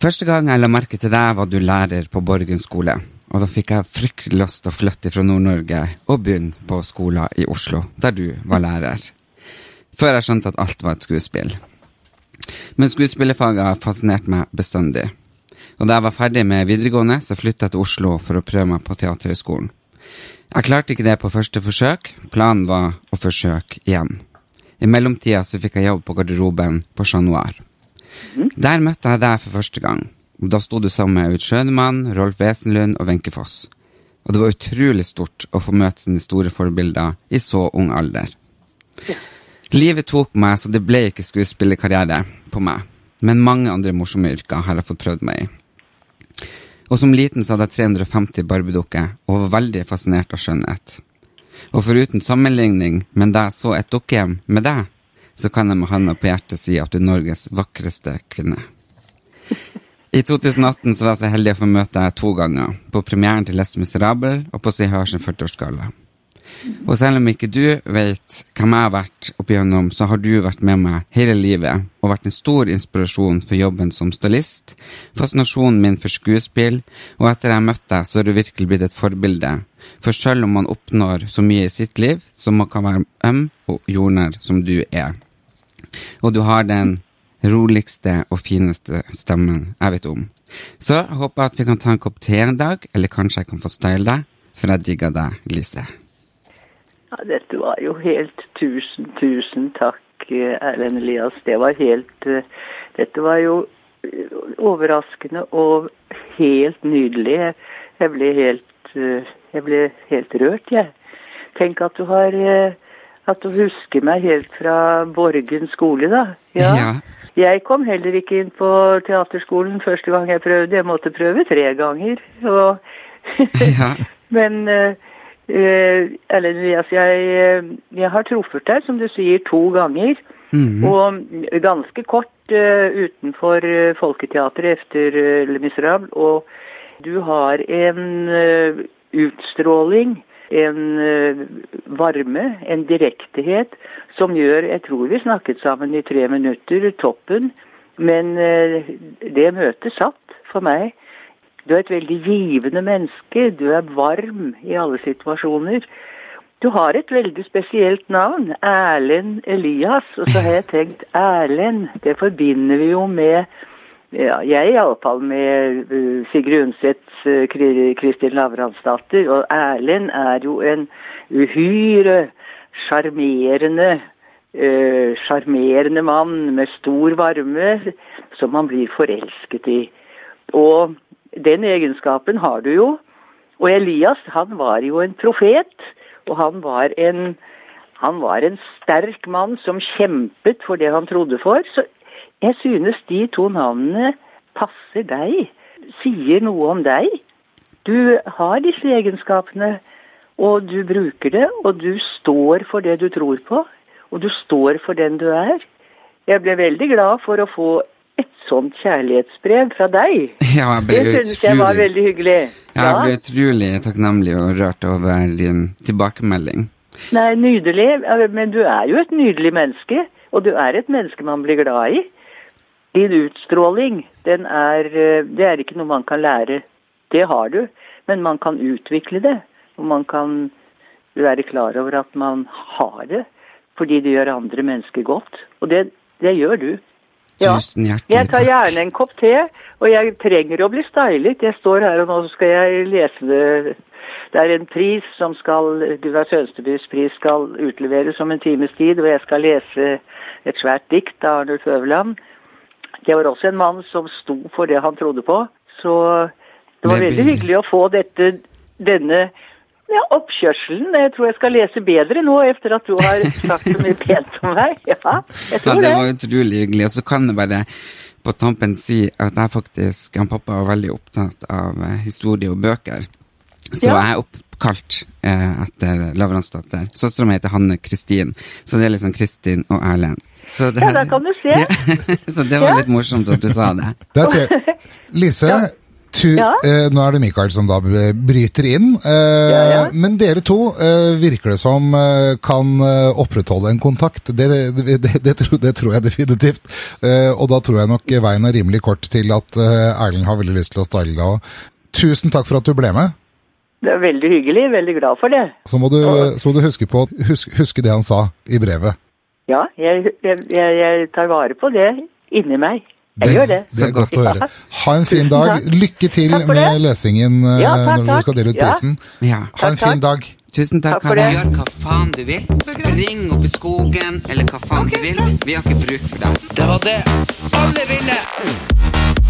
A: Første gang jeg la merke til deg, var du lærer på Borgen skole. Og da fikk jeg fryktelig lyst til å flytte fra Nord-Norge og begynne på skolen i Oslo, der du var lærer. Før jeg skjønte at alt var et skuespill. Men skuespillerfaget har fascinert meg bestandig. Og da jeg var ferdig med videregående, så flytta jeg til Oslo for å prøve meg på Teaterhøgskolen. Jeg klarte ikke det på første forsøk. Planen var å forsøke igjen. I mellomtida så fikk jeg jobb på garderoben på Chat Noir. Der møtte jeg deg for første gang. Og Da sto du sammen med Aud Schønemann, Rolf Wesenlund og Wenche Foss. Og det var utrolig stort å få møte sine store forbilder i så ung alder. Livet tok meg, så det ble ikke skuespillerkarriere på meg. Men mange andre morsomme yrker har jeg fått prøvd meg i. Og som liten så hadde jeg 350 barbedukker og var veldig fascinert av skjønnhet. Og foruten sammenligning, men da jeg så et dukkehjem med deg, så kan jeg med handa på hjertet si at du er Norges vakreste kvinne. I 2018 så var jeg så heldig å få møte deg to ganger, på premieren til Les Miserable og på Se og Hør sin 40-årsgalla. Og selv om ikke du vet hvem jeg har vært opp igjennom, så har du vært med meg hele livet og vært en stor inspirasjon for jobben som stylist, fascinasjonen min for skuespill, og etter jeg møtte deg, så har du virkelig blitt et forbilde. For selv om man oppnår så mye i sitt liv, så man kan være øm og jordnær som du er. Og du har den roligste og fineste stemmen jeg vet om. Så jeg håper at vi kan ta en kopp te en dag, eller kanskje jeg kan få style deg, for jeg digger deg, Lise. [laughs]
J: Ja, dette var jo helt Tusen, tusen takk, eh, Erlend Elias. Det var helt eh, Dette var jo eh, overraskende og helt nydelig. Jeg ble helt eh, Jeg ble helt rørt, jeg. Tenk at du har eh, At du husker meg helt fra Borgen skole, da. Ja. Jeg kom heller ikke inn på teaterskolen første gang jeg prøvde. Jeg måtte prøve tre ganger. Og
A: Ja.
J: men eh, eh, Erlend Elias, jeg, eh, jeg har truffet deg, som du sier, to ganger.
E: Mhm.
J: Og ganske kort eh, utenfor eh, Folketeatret etter eh, Le Miserable. Og du har en eh, utstråling, en eh, varme, en direktehet som gjør Jeg tror vi snakket sammen i tre minutter, toppen. Men eh, det møtet satt for meg. Du er et veldig givende menneske. Du er varm i alle situasjoner. Du har et veldig spesielt navn, Erlend Elias. Og så har jeg tenkt Erlend, det forbinder vi jo med ja, Jeg iallfall med uh, Sigrid Undsets uh, Kri- Kristin Lavransdatter. Og Erlend er jo en uhyre sjarmerende eh, sjarmerende mann med stor varme som man blir forelsket i. Og den egenskapen har du jo. Og Elias, han var jo en profet, og han var en han var en sterk mann som kjempet for det han trodde for. Så jeg synes de to navnene passer deg, sier noe om deg. Du har disse egenskapene, og du bruker det, og du står for det du tror på, og du står for den du er. Jeg ble veldig glad for å få et sånt kjærlighetsbrev fra deg.
A: Ja, jeg ble
J: Det synes jeg var
A: utrolig
J: veldig hyggelig.
A: Jeg ble utrolig takknemlig og rørt over din tilbakemelding.
J: Nei, nydelig. Men du er jo et nydelig menneske. Og du er et menneske man blir glad i. Din utstråling, den er eh, Det er ikke noe man kan lære. Det har du. Men man kan utvikle det. Og man kan være klar over at man har det. Fordi det gjør andre mennesker godt. Og det, det gjør du.
A: Tusen hjertelig
J: Jeg tar
A: takk.
J: gjerne en kopp te, og jeg trenger å bli stylet. Jeg står her, og nå skal jeg lese det. Det er en pris som skal Gunnar Sønstebys pris skal utleveres om en times tid, og jeg skal lese et svært dikt av Arnulf Øverland. Det var også en mann som sto for det han trodde på, så det var
E: Det
J: veldig
E: blir-
J: hyggelig å få dette, denne ja, oppkjørselen. Jeg tror jeg skal lese bedre nå, etter at du har sagt så mye pent om meg. Ja, jeg
A: Ja,
J: tror
A: det
J: det.
A: var utrolig hyggelig. Og så kan jeg bare på tampen si at jeg faktisk han pappa var veldig opptatt av eh, historie og bøker. Så
K: Ja.
A: jeg er oppkalt eh, etter Lavransdatter. Søstera mi heter Hanne Kristin, så det er liksom Kristin og Erlend. Så det,
J: Ja, da kan du
A: [laughs]
J: se.
A: så det var litt morsomt at du sa det.
C: Der ser
J: [laughs]
C: Lise, tu, eh, nå er det Mikael som da b- bryter inn. Eh, Men dere to eh, virker det som eh, kan eh, opprettholde en kontakt. Det, det, det, det, tror, det tror jeg definitivt. Eh, og da tror jeg nok veien er rimelig kort til at eh, Erlend har veldig lyst til å style deg òg. Tusen takk for at du ble med.
J: Det er veldig hyggelig. Veldig glad for det.
C: Så må du, så må du huske, på, husk, huske det han sa i brevet.
J: Ja, jeg, jeg, jeg, jeg tar vare på det inni meg. Jeg
C: Det-
J: gjør det.
C: Det er godt å
J: Ja.
C: høre. Ha en fin
J: Tusen
C: dag.
J: takk.
C: Lykke til
J: Takk for
C: med
J: det.
C: lesingen eh,
J: Ja, takk,
C: når du skal
J: takk.
C: dele ut
J: Ja.
C: prisen. Ha en
A: Takk,
C: fin dag.
A: Tusen takk,
J: Takk for det.
A: Gjør hva faen du vil. Spring opp i skogen, eller hva faen du vil. Vi har ikke bruk for deg. Det var det. Alle ville!